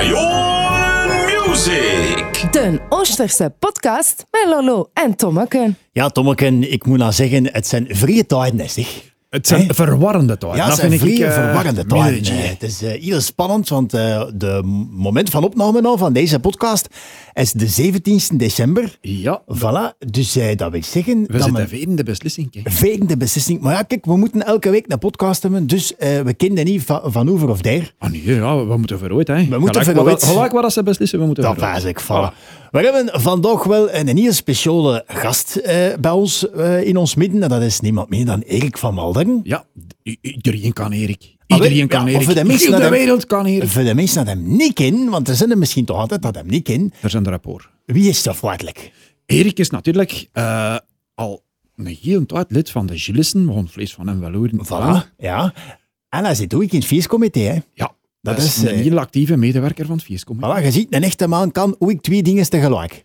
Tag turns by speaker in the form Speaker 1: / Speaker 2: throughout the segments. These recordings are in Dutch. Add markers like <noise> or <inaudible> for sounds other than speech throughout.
Speaker 1: Ion Music.
Speaker 2: De Oosterse podcast met Lolo en Tommeken.
Speaker 3: Ja, Tommeken, ik moet nou zeggen, het zijn vrije tijden, zeg.
Speaker 4: Het zijn verwarrende tijden.
Speaker 3: Ja,
Speaker 4: Dat
Speaker 3: het zijn
Speaker 4: vind ik,
Speaker 3: vrije,
Speaker 4: eh,
Speaker 3: verwarrende
Speaker 4: minder
Speaker 3: tijden.
Speaker 4: chill.
Speaker 3: hè. Het is eh, heel spannend, want eh, de moment van opname nou van deze podcast is de 17 december.
Speaker 4: Ja, we
Speaker 3: Voilà, dus eh, dat wil zeggen... dat
Speaker 4: zitten
Speaker 3: men-
Speaker 4: even in de beslissing. kijk.
Speaker 3: Vegende beslissing. Maar ja, kijk, we moeten elke week een podcast hebben, dus eh, we kenden niet va- van over of der.
Speaker 4: Ah nee, ja, we, we moeten vooruit. Hè. We
Speaker 3: moeten vooruit.
Speaker 4: Gelijk waar dat ze beslissen, we moeten
Speaker 3: Dat was ik vallen. We hebben vandaag wel een heel speciale gast eh, bij ons eh, in ons midden. En dat is niemand meer dan Erik van Malderen.
Speaker 4: Ja, i- iedereen kan Erik.
Speaker 3: Ah, wel,
Speaker 4: Iedereen kan
Speaker 3: ja,
Speaker 4: Erik.
Speaker 3: voor de mensen
Speaker 4: Heel
Speaker 3: dat
Speaker 4: de
Speaker 3: hem-
Speaker 4: wereld kan Erik.
Speaker 3: Voor de mensen dat hem niet kennen, want er zijn er misschien toch altijd dat hem niet kennen.
Speaker 4: Er zijn er rapport.
Speaker 3: Wie is dat feitelijk?
Speaker 4: Erik is natuurlijk eh, al een heel tijd lid van de Gillissen. We gaan vlees van hem wel horen.
Speaker 3: Voilà. Ja. En hij zit ook in het feestcomité. Hè.
Speaker 4: Ja,
Speaker 3: Dat
Speaker 4: dat,
Speaker 3: is,
Speaker 4: is
Speaker 3: eh,
Speaker 4: een heel actieve medewerker van het Fiescom.
Speaker 3: Voilà, je ziet, een echte man kan ook twee dingen tegelijk. <laughs>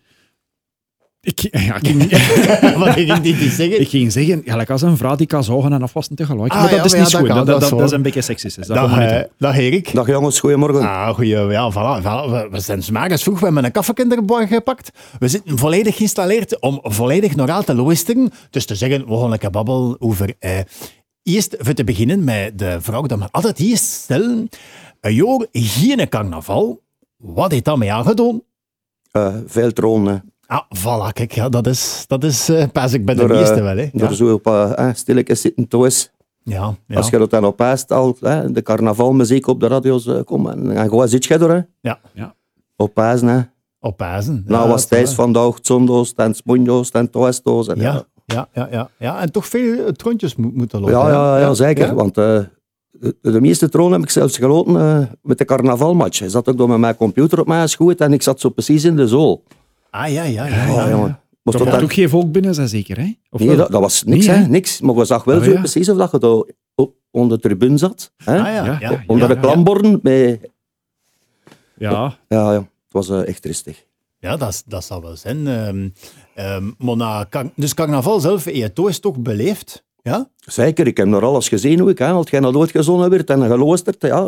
Speaker 4: Ik, ja, ik, ging,
Speaker 3: Wat ging die niet zeggen?
Speaker 4: ik ging zeggen, gelijk als een vrouw die kan zagen en afwassen tegelijk.
Speaker 3: Ah,
Speaker 4: maar dat
Speaker 3: ja,
Speaker 4: is
Speaker 3: maar
Speaker 4: niet
Speaker 3: ja, dat kan,
Speaker 4: goed. Dat,
Speaker 3: dat
Speaker 4: dat,
Speaker 3: is
Speaker 4: dat
Speaker 3: waar.
Speaker 4: is een beetje seksistisch. dus Dat gaan
Speaker 3: Dag,
Speaker 4: we niet
Speaker 3: eh,
Speaker 4: doen.
Speaker 3: dag Erik.
Speaker 5: Dag jongens, goedemorgen.
Speaker 3: Ah, goeie, ja, voilà, voilà. We, we zijn smakers vroeg, we hebben een kaffekinder erbij gepakt. We zitten volledig geïnstalleerd om volledig nogal te luisteren. Dus te zeggen, we gaan een babbel over... eh, eerst, voor te beginnen, met de vraag dat we altijd eerst stellen. Een jaar geen carnaval. Wat heeft dat met jou gedaan?
Speaker 5: Eh, veel tronen.
Speaker 3: Ah, voilà, kijk, ja, dat is, dat is eh, pas ik bij de
Speaker 5: Door, eh,
Speaker 3: meeste wel, hè. Ja,
Speaker 5: Door zo op eh, eh, stilletjes zitten thuis.
Speaker 3: ja, ja.
Speaker 5: Als je dat dan op haast al, hè, de carnavalmuziek op de radio's, eh, kom en en gewoon zit je door. Hè.
Speaker 3: Ja.
Speaker 4: Ja.
Speaker 5: Op haast, hè.
Speaker 3: op Pasen.
Speaker 5: nou was
Speaker 3: Ja, dat is
Speaker 5: Thijs
Speaker 3: waar.
Speaker 5: vandaag zondoos, en smonjo's, en toesto's. En,
Speaker 3: Ja, ja, ja, ja, ja. En toch veel eh, trondjes mo- moeten lopen.
Speaker 5: Ja,
Speaker 3: hè.
Speaker 5: ja, ja, zeker.
Speaker 3: ja.
Speaker 5: Want eh, de, de meeste tronen heb ik zelfs geloten eh, met de carnavalmatch. Ik zat ook door met mijn computer op mijn schoot en ik zat zo precies in de zool.
Speaker 3: Ah, ja, ja, ja. ja,
Speaker 5: Oh,
Speaker 3: ja.
Speaker 5: jongen. Moest
Speaker 4: Er
Speaker 5: dat
Speaker 4: komt
Speaker 5: dan-
Speaker 4: ook geen volk binnen, zijn zeker, hè? Of
Speaker 5: Nee,
Speaker 4: wel?
Speaker 5: dat, dat was niks,
Speaker 4: Nee,
Speaker 5: hè?
Speaker 4: hè?
Speaker 5: Niks. Maar we zag wel
Speaker 4: Oh,
Speaker 5: zo
Speaker 4: ja.
Speaker 5: precies of dat je daar op, onder de tribune zat. Hè?
Speaker 3: Ah, ja, ja,
Speaker 4: Ja,
Speaker 3: ja,
Speaker 5: onder
Speaker 4: ja,
Speaker 5: de klamborden. Ja.
Speaker 4: Ja,
Speaker 5: Ja, ja, het was eh, echt rustig.
Speaker 3: Ja, dat, is- dat zal wel zijn. Ehm, ehm, maar na car- dus carnaval zelf, ETO is toch beleefd? Ja? <laughs>
Speaker 5: Zeker, ik heb nog alles gezien hoe ik, hè, als jij naar ooit gezonnen werd en geluisterd, ja.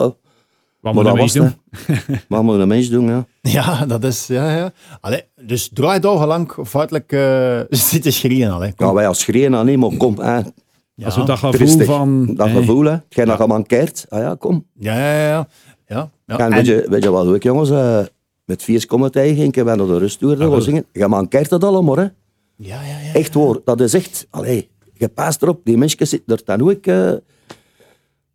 Speaker 5: Maar, dat
Speaker 4: wat moet dat
Speaker 5: was
Speaker 4: doen?
Speaker 5: het, hè. Wat moet een mens doen, ja.
Speaker 3: Ja, dat is... Ja, ja. Allee, dus draai dagen lang feitelijk eh <laughs> zitten schreeuwen al. Hè. Kom.
Speaker 5: ja wij als schreeuwen aan hem, maar kom, hè.
Speaker 3: Ja.
Speaker 4: Nou, Als we dat gevoel
Speaker 5: Rustig.
Speaker 4: van...
Speaker 5: Dat
Speaker 4: hè,
Speaker 5: gevoel, hè. Jij nog gemankeerd, ah ja, kom.
Speaker 3: Ja, ja, ja. ja, ja.
Speaker 5: En, weet, je, weet je wat ook, jongens? eh, met vier komen tegen, ik heb naar de rust toe gaan zingen. Je mankeert dat allemaal, hè.
Speaker 3: ja, ja, ja.
Speaker 5: Echt hoor, dat is echt. Allee, je paast erop, die mensen zitten er dan ook. eh,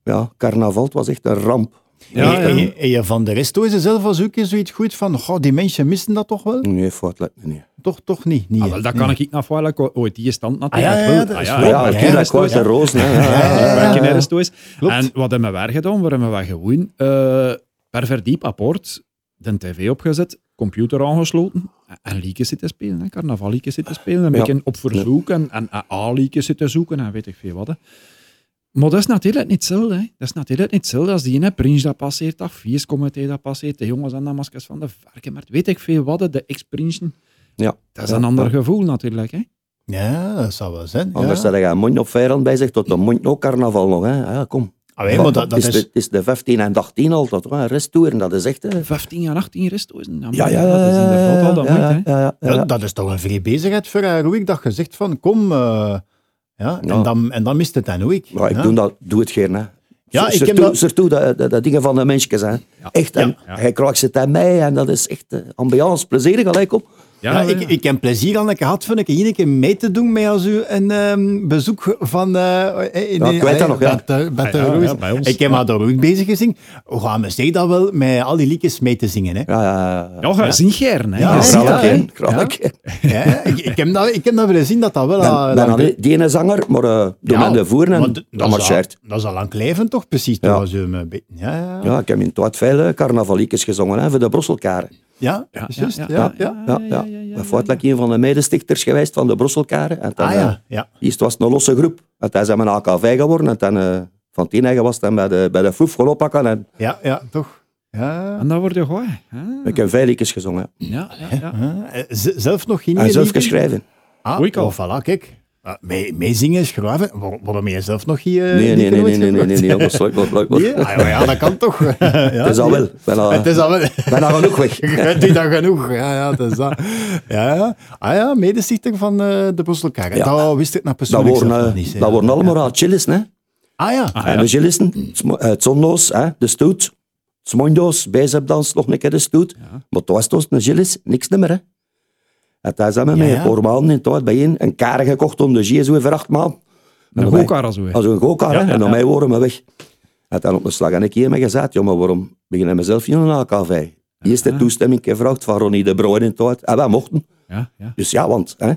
Speaker 5: ja, carnaval, het was echt een ramp.
Speaker 4: Ja,
Speaker 3: En-
Speaker 4: ja.
Speaker 3: en je- en je van de rest is er zelf als ook eens zoiets goed van, goh, die mensen missen dat toch wel?
Speaker 5: Nee, fout lijkt me niet.
Speaker 3: Toch, toch niet. niet
Speaker 4: Ah, wel, dat kan ik niet afvallen. Ik ooit die stand natuurlijk.
Speaker 3: Ah, ja, ja,
Speaker 4: wel.
Speaker 3: ja, dat is
Speaker 5: Ja,
Speaker 3: waar.
Speaker 5: ja,
Speaker 3: ja,
Speaker 5: ja,
Speaker 3: dat
Speaker 5: dat kwart en roos. hè, ja, ja.
Speaker 4: Werken ergens thuis.
Speaker 3: Klopt.
Speaker 4: En wat hebben wij gedaan? Waar hebben wij gewoon eh, per verdiep apport de tv opgezet, computer aangesloten en- en liedjes zitten spelen. hè, Carnavaliekjes zitten spelen. Een
Speaker 5: Ja.
Speaker 4: beetje op verzoek en, en en A-liedjes zitten zoeken en weet ik veel wat. Hè. Maar dat is natuurlijk niet hetzelfde. Hè. Dat is natuurlijk niet hetzelfde als die ene Prins dat passeert, dat Viescomité dat passeert, de jongens en de maskers van de Varkenmarkt, weet ik veel wat, hè, de ex-prinsen.
Speaker 5: Ja.
Speaker 4: Dat is een ander gevoel natuurlijk. Hè.
Speaker 3: Ja, dat zou wel zijn. ja.
Speaker 5: Anders had je een mond op vijand bij zich, tot de mond ook carnaval nog. Hè. Ah, Ja, kom.
Speaker 3: Allee, maar dat, dat
Speaker 5: het, is
Speaker 3: is...
Speaker 5: de, het is de 15 en 18 al, dat hoor. Resttoeren, dat is echt. hè.
Speaker 4: 15 en 18 restozen.
Speaker 5: Ja, ja, ja.
Speaker 4: Dat is inderdaad al dat
Speaker 5: ja,
Speaker 4: moeite. hè.
Speaker 5: ja, ja, ja, ja.
Speaker 3: Dat, dat is toch een vrije bezigheid voor haar, hoe ik dat gezegd van, kom... eh, ja, En,
Speaker 5: Ja.
Speaker 3: dan, en dan mist het dan ook.
Speaker 5: Maar ik
Speaker 3: ja.
Speaker 5: doe, dat, doe het geen. Hè.
Speaker 3: Ja, ik heb
Speaker 5: Surtout-
Speaker 3: dat-
Speaker 5: surtout dat, dat, dat dingen van de mensjes. Hè. Echt, en
Speaker 4: Ja.
Speaker 5: hij kraakt ze aan mij en dat is echt eh, ambiance, plezierig gelijk op.
Speaker 3: Ja, ik, ik heb plezier aan dat ik gehad van een keer, een keer mee te doen met als u een ehm, bezoek van... eh in,
Speaker 5: Ja, ik weet dat nog, ja.
Speaker 3: Bij, de- bij de
Speaker 4: Ja, ja,
Speaker 3: Roos.
Speaker 4: ja, bij ons.
Speaker 3: Ik heb haar daar ook bezig gezien. Hoe gaan we zich dat wel met al die liedjes mee te zingen? Hè?
Speaker 5: Ja, ja, ja.
Speaker 4: Ja, ga zien Gern. Hè.
Speaker 3: Ja,
Speaker 4: Je
Speaker 5: Ja,
Speaker 4: ziet
Speaker 3: ja,
Speaker 4: dat,
Speaker 5: graag,
Speaker 4: hè.
Speaker 5: hè, graag.
Speaker 3: Ja, ik, ik, heb dat, ik heb dat willen zien dat dat wel... ah,
Speaker 5: Dan,
Speaker 3: dat-
Speaker 5: dan had ik die ene zanger, maar eh door
Speaker 3: ja,
Speaker 5: mijn de voeren en
Speaker 3: want
Speaker 5: dat,
Speaker 3: dat, is al,
Speaker 5: marcheert.
Speaker 3: dat is al lang leven toch, precies?
Speaker 5: Ja.
Speaker 3: Ja. Als u hem, een beetje- ja, ja, ja.
Speaker 5: Ja, ik heb in Twat veel eh, carnavaliekjes gezongen hè, voor de Brusselkaren.
Speaker 3: Ja,
Speaker 4: Ja,
Speaker 3: juist,
Speaker 4: ja,
Speaker 3: ja, ja.
Speaker 5: Ah, Ja, ja. Mijn vader was een van de medestichters geweest van de Brusselkaren. En dan,
Speaker 3: Ah
Speaker 5: eh,
Speaker 3: ja, ja.
Speaker 5: Eerst was het een losse groep. En toen zijn we een AKV geworden. En dan, eh, van tien eigen was het dan bij de, bij de Foef gaan oppakken. En
Speaker 3: Ja, ja, toch. Ja.
Speaker 4: En dan word je gooi. hè.
Speaker 5: ik heb veel liedjes gezongen.
Speaker 4: Ja, ja, ja.
Speaker 3: Huh? Eh, z- Zelf nog geen
Speaker 5: En Ah, zelf
Speaker 3: liedje?
Speaker 5: geschreven.
Speaker 3: Ah,
Speaker 4: Oei, kan.
Speaker 3: oh, voilà, kijk. Eh, mee- Meezingen is graven. Waar- Waarom je zelf nog hier...
Speaker 5: Nee,
Speaker 3: eh,
Speaker 5: nee,
Speaker 3: niet
Speaker 5: nee,
Speaker 3: kunnen
Speaker 5: nee, nee, nee, nee,
Speaker 3: uitgebracht?
Speaker 5: nee, jongens, leuk, leuk, leuk.
Speaker 3: Nee? Ah, <laughs> ja, ja, dat kan toch. <laughs> ja,
Speaker 5: Het is al wel.
Speaker 3: Het
Speaker 5: Bijna,
Speaker 3: is al wel...
Speaker 5: <laughs> bijna genoeg weg.
Speaker 3: <laughs> Je doet dat genoeg. Ja, ja, dat is dat. Ja, ja. Ah ja, medestichter van eh, de Brussel Karren.
Speaker 5: Ja.
Speaker 3: Dat wist ik nou
Speaker 5: Dat
Speaker 3: persoonlijk
Speaker 5: worden,
Speaker 3: zelf nog
Speaker 5: eh,
Speaker 3: niet. hè.
Speaker 5: dat worden allemaal ja. chillis, hè.
Speaker 3: Ah ja.
Speaker 4: Ah,
Speaker 5: En
Speaker 4: ja.
Speaker 5: de chillisten, het smo- eh, het zonloos, hè, de stoet, het smondoos, bijzapdans, nog een keer de stoet. Maar toen was het ons een chillis, niks meer, hè. En daar zijn we
Speaker 3: Ja,
Speaker 5: mee
Speaker 3: ja.
Speaker 5: een paar maanden in het oud bijeen, een kar gekocht om de GSO voor acht maanden.
Speaker 4: Een
Speaker 5: wij-
Speaker 4: gokar als we.
Speaker 5: Als een gokar, hè.
Speaker 4: Ja, ja,
Speaker 5: en dan
Speaker 4: ja.
Speaker 5: mij worden we weg. En dan op de slag en ik hier mee gezegd, ja, maar waarom beginnen we zelf hier in een AKV? Eerst de
Speaker 4: Ja.
Speaker 5: toestemming gevraagd van Ronnie de Brooij in het oud. En wij mochten.
Speaker 4: Ja, ja.
Speaker 5: Dus ja, want... Hè,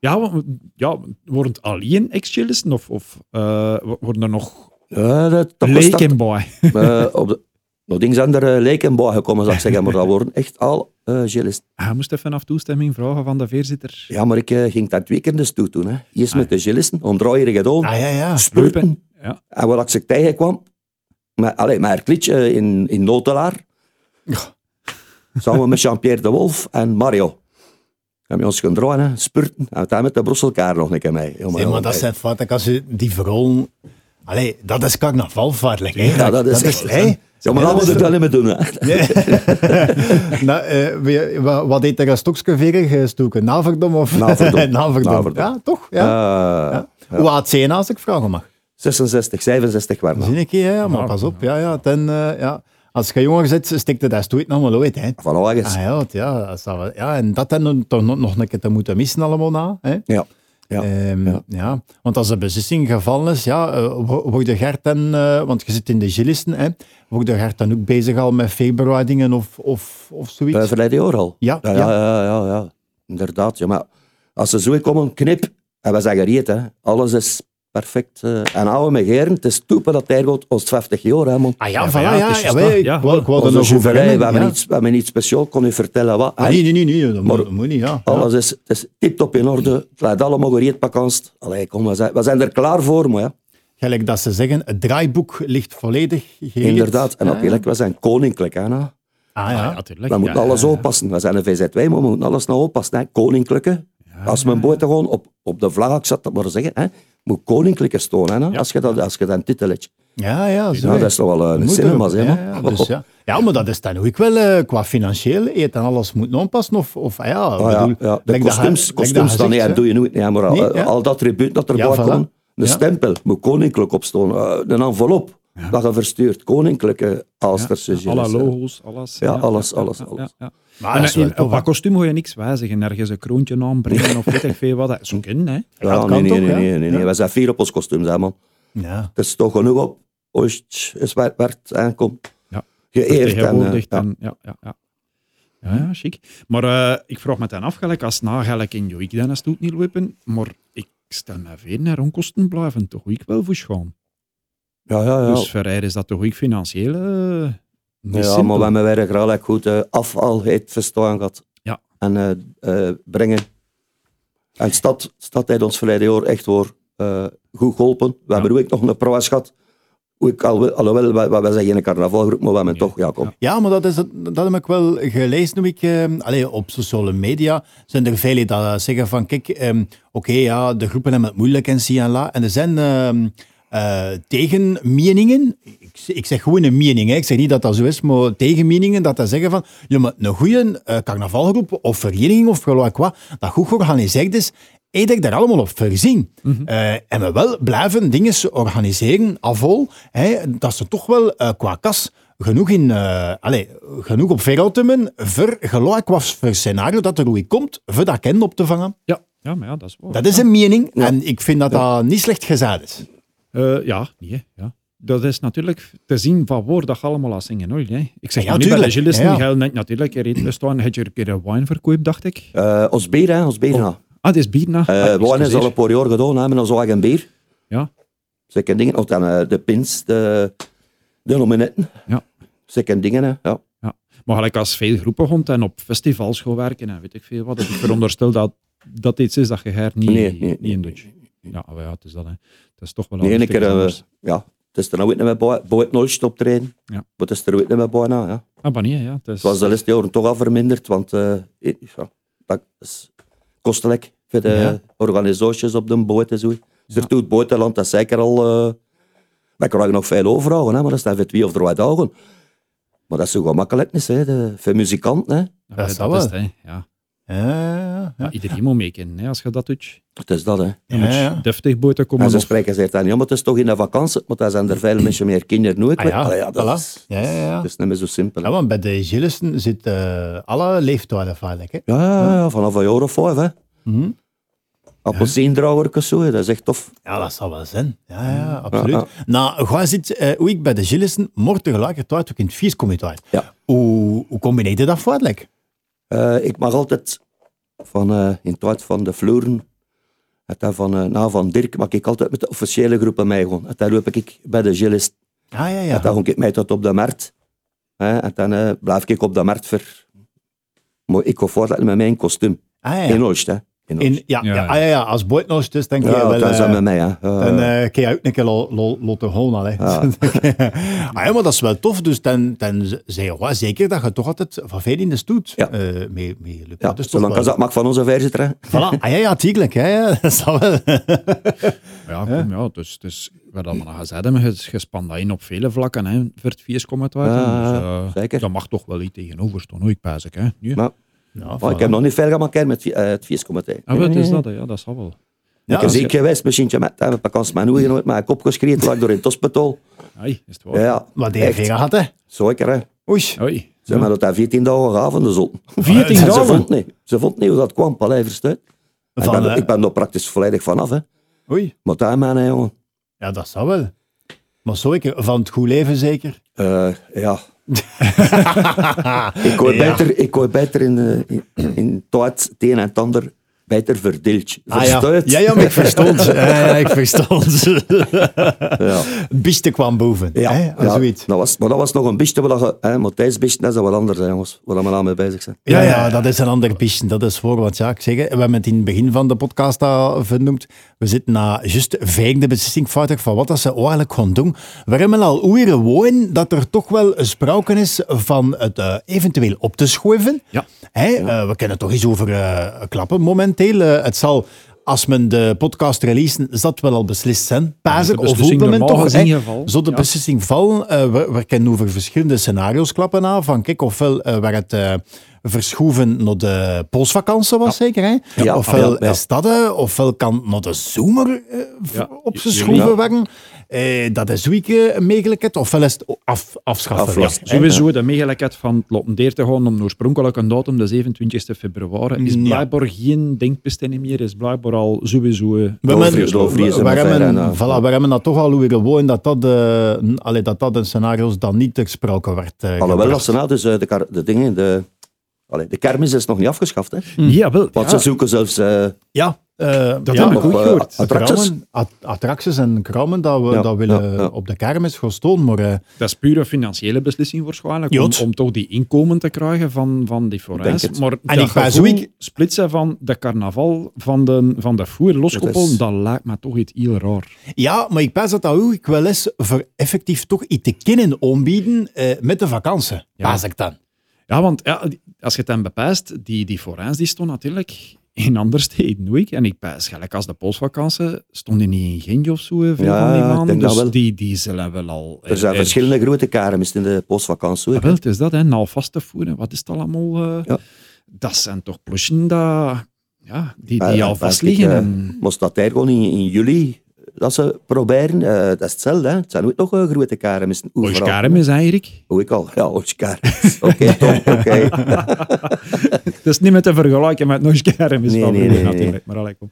Speaker 4: Ja, want- ja, worden het alleen ex-chillisten of, of eh, worden er nog
Speaker 5: ja, dat, dat was dat.
Speaker 4: leken boy?
Speaker 5: Eh, op de, nog dingen zijn er eh, lijken bij gekomen, zou ik zeggen, maar dat worden echt al eh gilles.
Speaker 4: <laughs> Hij moest even af toestemming vragen van de voorzitter.
Speaker 5: Ja, maar ik eh, ging daar twee keer dus toe doen. Hè. Eerst
Speaker 4: Ah.
Speaker 5: met de gillissen, omdraaien gedaan,
Speaker 3: Ah ja, ja.
Speaker 5: spulpen.
Speaker 4: Ja.
Speaker 5: En wat ik tegenkwam, met, allee, met haar klitje eh, in, in Notelaar, samen met Jean-Pierre de Wolf en Mario. Hebben we ons gedraaid, hè, spurten. En daar met de Brusselkaar nog een keer mee. Jongen,
Speaker 3: Nee, maar
Speaker 5: jongen,
Speaker 3: dat
Speaker 5: hey.
Speaker 3: zijn fouten. Als je die verrol... Allee, dat is carnavalvaartelijk. hè.
Speaker 5: Ja, dat is echt...
Speaker 3: hè.
Speaker 5: Ja, maar
Speaker 3: Ja,
Speaker 5: dat
Speaker 3: dat
Speaker 5: moet
Speaker 3: is-
Speaker 5: ik wel niet meer doen. Hè.
Speaker 3: <laughs> nou, eh, wie- wa- wat deed er als stokskeveren gestoken? Naverdom of...
Speaker 5: Naverdom.
Speaker 3: <laughs> Naverdom.
Speaker 5: Naverdom.
Speaker 3: Ja, toch? Ja.
Speaker 5: Eh,
Speaker 3: Hoe oud zijn als ik vragen mag?
Speaker 5: 66, 67 waren we.
Speaker 3: Zie ik, ja, ja, maar pas op. Ja, ja, ten, eh, ja. Als je jonger zit, stikt het dat stoeit nog wel ooit. Hè.
Speaker 5: Van August.
Speaker 3: Ah, ja, het- ja, dat zou wel- ja, en dat dan toch nog, nog een keer te moeten missen allemaal na. Hè?
Speaker 5: Ja. Ja.
Speaker 3: Ehm, ja.
Speaker 5: Ja.
Speaker 3: Want als de beslissing gevallen is, ja, eh, wo- worden Gert en, eh, want je zit in de gillisten, hè, worden Gert dan ook bezig al met februardingen of, of, of zoiets?
Speaker 5: Eh, verleden jaar al.
Speaker 3: Ja,
Speaker 5: ja,
Speaker 3: ja.
Speaker 5: ja. ja, ja, ja. Inderdaad. Ja, maar als ze zo komen, knip. En we zeggen reet, hè. Alles is perfect. eh. en oude megeren, het is toepen dat hij gaat ons 50 jaar, hè, man.
Speaker 3: ah ja,
Speaker 4: Ja,
Speaker 3: voilà,
Speaker 4: maar
Speaker 3: ja,
Speaker 4: ja, het
Speaker 3: ja,
Speaker 4: is juist
Speaker 3: wel,
Speaker 4: dat,
Speaker 3: ik
Speaker 4: ja,
Speaker 3: wou- ik wou er
Speaker 5: Onze
Speaker 3: nog over
Speaker 5: jouverij,
Speaker 3: hebben,
Speaker 5: we, hebben
Speaker 3: ja.
Speaker 5: iets, we hebben iets speciaals, kon u vertellen wat. hè.
Speaker 3: Ah, nee, nee, nee, nee, dat,
Speaker 5: Maar-
Speaker 3: moet, dat moet niet, ja.
Speaker 5: Alles is, het is tip-top in orde. Het lijkt allemaal gereed pak angst. Allee, kom, we zijn, we zijn er klaar voor, maar ja.
Speaker 3: Gelijk dat ze zeggen, het draaiboek ligt volledig gereed.
Speaker 5: Inderdaad. En
Speaker 3: Ah,
Speaker 5: natuurlijk, we zijn koninklijk, hè. nou.
Speaker 3: Ah ja.
Speaker 4: natuurlijk.
Speaker 5: We moeten alles oppassen. We zijn een VZW, maar we moeten alles naar oppassen. Hè. Koninklijke. als mijn boot gewoon op, op de vlag, ik zat dat maar zeggen, hè, moet koninklijke stoon, hè, nou, als je dat als je dan titeletje.
Speaker 3: Ja, ja, zo.
Speaker 5: Nou, dat is toch wel eh, een
Speaker 3: Moet
Speaker 5: cinema,
Speaker 3: ook,
Speaker 5: zeg maar. Oh,
Speaker 3: Ja,
Speaker 5: <laughs>
Speaker 3: ja, dus, ja. ja, maar dat is dan ook wel eh, qua financieel eet en alles moet aanpassen. Of, of ah ja,
Speaker 5: Ah, ja,
Speaker 3: bedoel,
Speaker 5: ja. De
Speaker 3: like dat hij-
Speaker 5: kostuums,
Speaker 3: like
Speaker 5: kostuums
Speaker 3: dat
Speaker 5: dan,
Speaker 3: hij
Speaker 5: nee,
Speaker 3: zegt,
Speaker 5: doe je nooit. Ja, maar al,
Speaker 3: Nee, ja.
Speaker 5: al dat tribuut dat erbij
Speaker 3: Ja, voilà.
Speaker 5: komt, de
Speaker 3: Ja.
Speaker 5: stempel moet koninklijk opstoon. eh, een envelop dat je verstuurt, koninklijke Alsterse
Speaker 4: Ja, alle
Speaker 5: gilles, hè.
Speaker 4: logo's, alles.
Speaker 5: Ja, alles, alles, alles.
Speaker 4: ja.
Speaker 3: hè. Maar
Speaker 4: En,
Speaker 3: Ah, dat is
Speaker 4: eh,
Speaker 3: wel
Speaker 4: in- op
Speaker 3: tof, hè.
Speaker 4: dat kostuum moet je niks wijzigen. Ergens een kroontje aanbrengen of weet ik veel wat. Dat zou kunnen, hè.
Speaker 5: Ja, nee,
Speaker 3: dat kan
Speaker 5: nee,
Speaker 3: toch,
Speaker 5: nee,
Speaker 3: ja.
Speaker 5: nee, nee, nee.
Speaker 3: Ja.
Speaker 5: We zijn fier op ons kostuum, hè, man.
Speaker 3: Ja.
Speaker 5: Het is toch genoeg op. Ooit is waar, waar het aankomt.
Speaker 4: Ja.
Speaker 5: Geëerd en, eh,
Speaker 4: Vertegenwoordigd
Speaker 5: ja.
Speaker 4: en, ja, ja, ja. Ja, ja, chic. Maar eh, ik vraag me dan af, gelijk als nagelijk in Joik dan als het doet niet lopen, maar ik stel me veel naar onkosten blijven, toch ik wel voor schoon.
Speaker 5: Ja, ja, ja.
Speaker 4: Dus voor haar is dat toch ook financieel eh, niet
Speaker 5: Ja,
Speaker 4: simpel.
Speaker 5: maar we hebben weer gelijk goed eh, afval heeft verstaan gehad.
Speaker 4: Ja.
Speaker 5: En eh, eh, brengen. En stad, stad heeft ons verleden jaar echt hoor, eh, goed geholpen. We hebben ook nog een proas gehad. Hoe Ik, al, alhoewel, wij, wij wij zijn geen carnavalgroep, maar we hebben toch, ja kom.
Speaker 3: Ja, maar dat, is, het- dat heb ik wel gelezen. Hoe ik, eh, allee, op sociale media zijn er velen die dat zeggen van, kijk, ehm, oké, ja, de groepen hebben het moeilijk en si en la. En er zijn ehm, eh, tegenmeningen. Ik, ik zeg gewoon een mening, hè. ik zeg niet dat dat zo is, maar tegenmeningen dat dat zeggen van, ja, maar een goede eh, carnavalgroep of vereniging of gelijk wat, dat goed georganiseerd is, heb ik daar allemaal op voorzien. Eh, en we wel blijven dingen organiseren, afval, hè, dat ze toch wel eh, qua kas genoeg, in, eh, allee, genoeg op verhoutemen voor gelijk was voor scenario dat er hoe komt, voor dat kind op te vangen.
Speaker 4: Ja, ja, maar ja, dat is waar.
Speaker 3: Dat is een mening en ik vind dat dat niet slecht gezegd is.
Speaker 4: Eh, ja, nee. hè. Ja. Dat is natuurlijk te zien van waar dat je allemaal als zingen hoor. Hè. Ik zeg
Speaker 3: Ja,
Speaker 4: ja, niet bij de
Speaker 3: tuurlijk.
Speaker 4: Gillisten,
Speaker 3: Ja, ja.
Speaker 4: geld net natuurlijk. Er eet bestaan, had je een keer een wijnverkoop, dacht ik.
Speaker 5: Eh, ons bier, hè, ons bier. ja.
Speaker 4: Ah, het is bierna.
Speaker 5: Eh,
Speaker 4: Ah,
Speaker 5: wijn is
Speaker 4: excuseer.
Speaker 5: al een paar jaar gedaan, hè, met ons eigen bier.
Speaker 4: Ja,
Speaker 5: Zeker dingen. Of dan eh, de pins, de, de nominetten.
Speaker 4: Ja.
Speaker 5: Zeker dingen, hè. Ja.
Speaker 4: ja. Maar gelijk als veel groepen rond en op festivals gaan werken en weet ik veel wat. dat Ik veronderstel dat dat iets is dat je haar niet,
Speaker 5: Nee, nee,
Speaker 4: niet
Speaker 5: nee,
Speaker 4: in doet. Ja, maar ja, het is dat. Hè. Het is toch wel
Speaker 5: De
Speaker 4: al
Speaker 5: ene
Speaker 4: een
Speaker 5: keer,
Speaker 4: stuk
Speaker 5: eh,
Speaker 4: anders.
Speaker 5: ja, het is er nou ook niet meer bij, bij het nulst optreden.
Speaker 4: Ja.
Speaker 5: Maar het is er ook niet meer bij, nou, ja.
Speaker 4: Ah, maar nee, ja. Het is,
Speaker 5: eh, Het was de laatste jaren toch al verminderd, want eh, ja, dat is kostelijk. voor de
Speaker 3: Ja.
Speaker 5: organisaties op de boot en zo. Dus er doet buitenland, dat is zeker al... eh we krijgen nog veel overhouden, hè, maar dat is dan voor twee of drie dagen. Maar dat is zo gemakkelijk niet, hè. De, voor muzikanten. Hè.
Speaker 3: dat
Speaker 4: is
Speaker 3: zou
Speaker 4: Ah, is
Speaker 3: wel.
Speaker 4: het, hè. Ja.
Speaker 3: Ja,
Speaker 4: Maar iedereen moet meekennen, hè, als je dat doet.
Speaker 5: Het is dat, hè.
Speaker 4: Dan
Speaker 3: Ja,
Speaker 4: moet je
Speaker 3: ja.
Speaker 4: deftig boven
Speaker 5: En
Speaker 4: komen.
Speaker 5: ze
Speaker 4: Of,
Speaker 5: spreken ze het dan niet om, het is toch in de vakantie, maar dan zijn er veel mensen meer kinderen nooit.
Speaker 3: Ah
Speaker 5: meer.
Speaker 3: ja,
Speaker 5: Allee, dat
Speaker 3: voilà.
Speaker 5: is,
Speaker 3: Ja, ja, ja.
Speaker 5: dat is niet meer zo simpel.
Speaker 3: Ja,
Speaker 5: hè.
Speaker 3: want bij de Gillissen zit eh, alle leeftijden vaarlijk, hè?
Speaker 5: Ja, ja, ja, vanaf een jaar of vijf, hè.
Speaker 3: Mhm.
Speaker 5: Appelsiendragertjes zo, hè, dat is echt tof.
Speaker 3: Ja, dat zal wel zijn. Ja, ja absoluut.
Speaker 5: Ja,
Speaker 3: Nou, gewoon zit, eh, hoe ik bij de Gillissen, morgen tegelijkertijd ook in het vies kom je uit.
Speaker 5: Ja.
Speaker 3: Hoe, hoe combineer je dat vaarlijk?
Speaker 5: Eh, ik mag altijd van, eh, in het tijd van de Fleuren, het daar van, eh, na van Dirk, mag ik altijd met de officiële groepen meegaan. En dan loop ik bij de gilist.
Speaker 3: Ah, ja,
Speaker 5: En dan
Speaker 3: ja.
Speaker 5: ga ik mee tot op de markt. Hè, en dan eh, blijf ik op de markt voor... Maar ik ga voortletten met mijn kostuum.
Speaker 3: Ah, ja,
Speaker 5: In
Speaker 3: ja.
Speaker 5: Oost, hè. In Oost.
Speaker 3: In, ja, ja,
Speaker 4: Ja, ja.
Speaker 3: ah, ja, ja, als bootnoos dus, denk je
Speaker 5: Ja,
Speaker 3: wel...
Speaker 5: dat is
Speaker 3: eh,
Speaker 5: dat met mij, hè. Eh,
Speaker 3: dan eh kun je ook een keer lo- lo- lotte gewoon al. hè. <laughs>
Speaker 5: Ja.
Speaker 3: ah, ja, maar dat is wel tof. Dus dan, dan zei je, "Wa, zeker dat je toch altijd van veel in de stoet
Speaker 5: Ja.
Speaker 3: eh, mee, mee lukt.
Speaker 5: ja,
Speaker 3: Dat is toch
Speaker 5: zolang
Speaker 3: wel-
Speaker 5: als dat mag van onze verzitter, hè.
Speaker 3: Voilà. Ah, ja, ja, tuurlijk. Hè. Ja, <laughs> Dat is dat wel.
Speaker 4: ja, kom, ja, dus, dus wat dat we nog gezegd hebben, je, je spant dat in op vele vlakken, hè, voor het vies komt het uit.
Speaker 5: Ja,
Speaker 4: dus,
Speaker 5: ja,
Speaker 4: eh,
Speaker 5: Ah, zeker.
Speaker 4: Dat mag toch wel iets tegenover staan, hoor, ik pijs ik, hè. Nu.
Speaker 5: Maar,
Speaker 3: Ja,
Speaker 5: maar ik
Speaker 3: voilà.
Speaker 5: heb nog niet veel gemaakt met vi- eh, het viescomité.
Speaker 4: Ah, wat is dat? hè? Ja, dat zal wel.
Speaker 3: Ja,
Speaker 5: ik heb
Speaker 3: als je-
Speaker 5: ziek geweest, misschien met een vakantie mijn ogen nooit mijn kop geschreven, lag door in het hospitaal.
Speaker 4: Ai, is het
Speaker 5: Ja,
Speaker 4: waar?
Speaker 5: ja.
Speaker 3: Oh, Wat die
Speaker 5: echt.
Speaker 3: heeft gehad, hè?
Speaker 5: Zeker, hè.
Speaker 3: Oei.
Speaker 4: Oei.
Speaker 5: Ze hebben dat daar 14 dagen gehaven, de
Speaker 3: <laughs>
Speaker 5: zon.
Speaker 4: 14
Speaker 5: En Ze
Speaker 4: dagen?
Speaker 5: vond niet. Ze vond niet hoe dat kwam, palij verstuit. En ik
Speaker 3: Van,
Speaker 5: ben-
Speaker 3: eh,
Speaker 5: ik ben er praktisch volledig vanaf, hè.
Speaker 3: Oei.
Speaker 5: Maar daar, man, hè, jongen.
Speaker 3: Ja, dat zou wel. Maar zo, ik, van het goed leven zeker.
Speaker 5: Eh,
Speaker 3: <laughs>
Speaker 5: ja. ik hoor
Speaker 3: Ja.
Speaker 5: beter, ik hoor beter in, eh, in, in tijd, het een en het ander, beter verdeeld.
Speaker 3: Ah, ja.
Speaker 5: Verstuit.
Speaker 3: ja, ja, maar ik
Speaker 5: <laughs>
Speaker 3: verstond. ze. Ja, ja, ik verstond. ze. <laughs>
Speaker 5: ja.
Speaker 3: Het Biste kwam boven.
Speaker 5: Ja,
Speaker 3: hè? Of
Speaker 5: ja.
Speaker 3: zoiets.
Speaker 5: Dat was, maar dat was nog een beetje, wat je- hè, maar tijdens beetje, dat is wat anders, hè, jongens, waar we aan mee bezig zijn.
Speaker 3: Ja, ja, dat is een ander piste. Dat is voor wat ja, ik zeg. hè, We hebben het in het begin van de podcast al vernoemd. We zitten na juist vijfde beslissing fouten van wat dat ze eigenlijk gaan doen. We hebben al oeren woon dat er toch wel sprake is van het eh, eventueel op te schuiven.
Speaker 4: Ja.
Speaker 3: Hè, eh, we kunnen toch eens over eh, klappen momenteel. Eh, het zal, als men de podcast releasen, zal het wel al beslist zijn. Paas
Speaker 4: de
Speaker 3: ik, of
Speaker 4: beslissing
Speaker 3: hopen men
Speaker 4: normaal
Speaker 3: toch.
Speaker 4: gezien
Speaker 3: hè,
Speaker 4: geval.
Speaker 3: Zo de
Speaker 4: Ja.
Speaker 3: beslissing vallen. eh, we, we kunnen over verschillende scenario's klappen aan. Van kijk, ofwel eh, waar het... eh, verschoeven naar de postvakantie was zeker, hè?
Speaker 5: Ja,
Speaker 3: ofwel
Speaker 5: ja, ja.
Speaker 3: is dat, eh, ofwel kan naar de zomer eh, v-
Speaker 4: Ja.
Speaker 3: opgeschroeven
Speaker 5: Ja.
Speaker 3: worden. Eh, dat is ook eh, een mogelijkheid. Ofwel is het af, afschaffen.
Speaker 5: Aflasten.
Speaker 3: hè.
Speaker 4: Sowieso de mogelijkheid van het Lottendeer te gaan om oorspronkelijk een datum, de 27 februari, is
Speaker 3: Ja.
Speaker 4: blijkbaar geen denkbestemming meer, is blijkbaar al sowieso... eh,
Speaker 3: We
Speaker 5: Doorvries- doorvries en
Speaker 3: hebben, we, hebben,
Speaker 5: verder, en, eh,
Speaker 3: voilà, we hebben dat toch al weer gewoon dat dat, eh, n- allee, dat dat in scenario's dan niet ter sprake werd. eh,
Speaker 5: Alhoewel,
Speaker 3: gebracht.
Speaker 5: dat ze nou dus eh, de, kar- de dingen, de, allee, de kermis is nog niet afgeschaft, hè.
Speaker 3: Hm.
Speaker 4: Ja, wel.
Speaker 5: Want
Speaker 4: ja.
Speaker 5: ze zoeken zelfs eh,
Speaker 3: Ja, eh,
Speaker 4: Dat
Speaker 3: ja,
Speaker 4: heb ik
Speaker 5: nog,
Speaker 4: ook
Speaker 5: eh,
Speaker 4: gehoord.
Speaker 5: attracties.
Speaker 3: Krammen, at- attracties en krammen dat we
Speaker 5: Ja,
Speaker 3: dat willen
Speaker 5: ja, ja.
Speaker 3: op de kermis gaan staan, maar eh,
Speaker 4: Dat is puur een financiële beslissing waarschijnlijk, om,
Speaker 3: Jot.
Speaker 4: om toch die inkomen te krijgen van, van die forens.
Speaker 5: Denk het.
Speaker 4: Maar
Speaker 3: En
Speaker 4: dat
Speaker 3: ik ben
Speaker 4: gevoel
Speaker 3: zo ik-
Speaker 4: splitsen van de carnaval, van de, van de voer loskoppelen, dat lijkt me toch iets heel raar.
Speaker 3: Ja, maar ik pas dat dat ook wel eens voor effectief toch iets te kunnen aanbieden eh, met de vakantie.
Speaker 4: Ja.
Speaker 3: Pas ik dan.
Speaker 4: Ja, want ja, die- als je het dan bepijst, die, die forens die stond natuurlijk in andere steden doe ik. En ik pijs gelijk als de postvakantie, stond die niet in Gent of zo, eh, veel
Speaker 5: Ja,
Speaker 4: van die
Speaker 5: ik
Speaker 4: maanden.
Speaker 5: denk
Speaker 4: Dus
Speaker 5: dat wel.
Speaker 4: die, die zullen wel al...
Speaker 5: er
Speaker 3: Eh,
Speaker 5: zijn verschillende grote kermis in de postvakantie.
Speaker 4: Ja,
Speaker 5: hoor.
Speaker 4: wel, het is dat, hè. Nou, vast te voeren, wat is het allemaal? eh?
Speaker 5: Ja.
Speaker 4: Dat zijn toch plussen dat... Ja,
Speaker 3: Ah,
Speaker 4: die, die
Speaker 5: Ja,
Speaker 4: al
Speaker 5: dat
Speaker 4: vast
Speaker 5: denk ik,
Speaker 4: liggen.
Speaker 5: eh,
Speaker 4: en-
Speaker 5: Maar staat daar gewoon in, in juli eh, dat ze proberen? eh, dat is hetzelfde, hè. Het zijn ook nog eh, grote kermissen. overal.
Speaker 4: Ooskarem is eigenlijk.
Speaker 5: Hoe ik al. Ja,
Speaker 3: <laughs>
Speaker 5: Ooskarmis. Oké, top, oké.
Speaker 4: Dat is niet meer te vergelijken met Ooskarem. Is
Speaker 5: Nee,
Speaker 4: wel
Speaker 5: nee,
Speaker 4: weer
Speaker 5: nee, nee.
Speaker 4: natuurlijk. Maar allee, kom.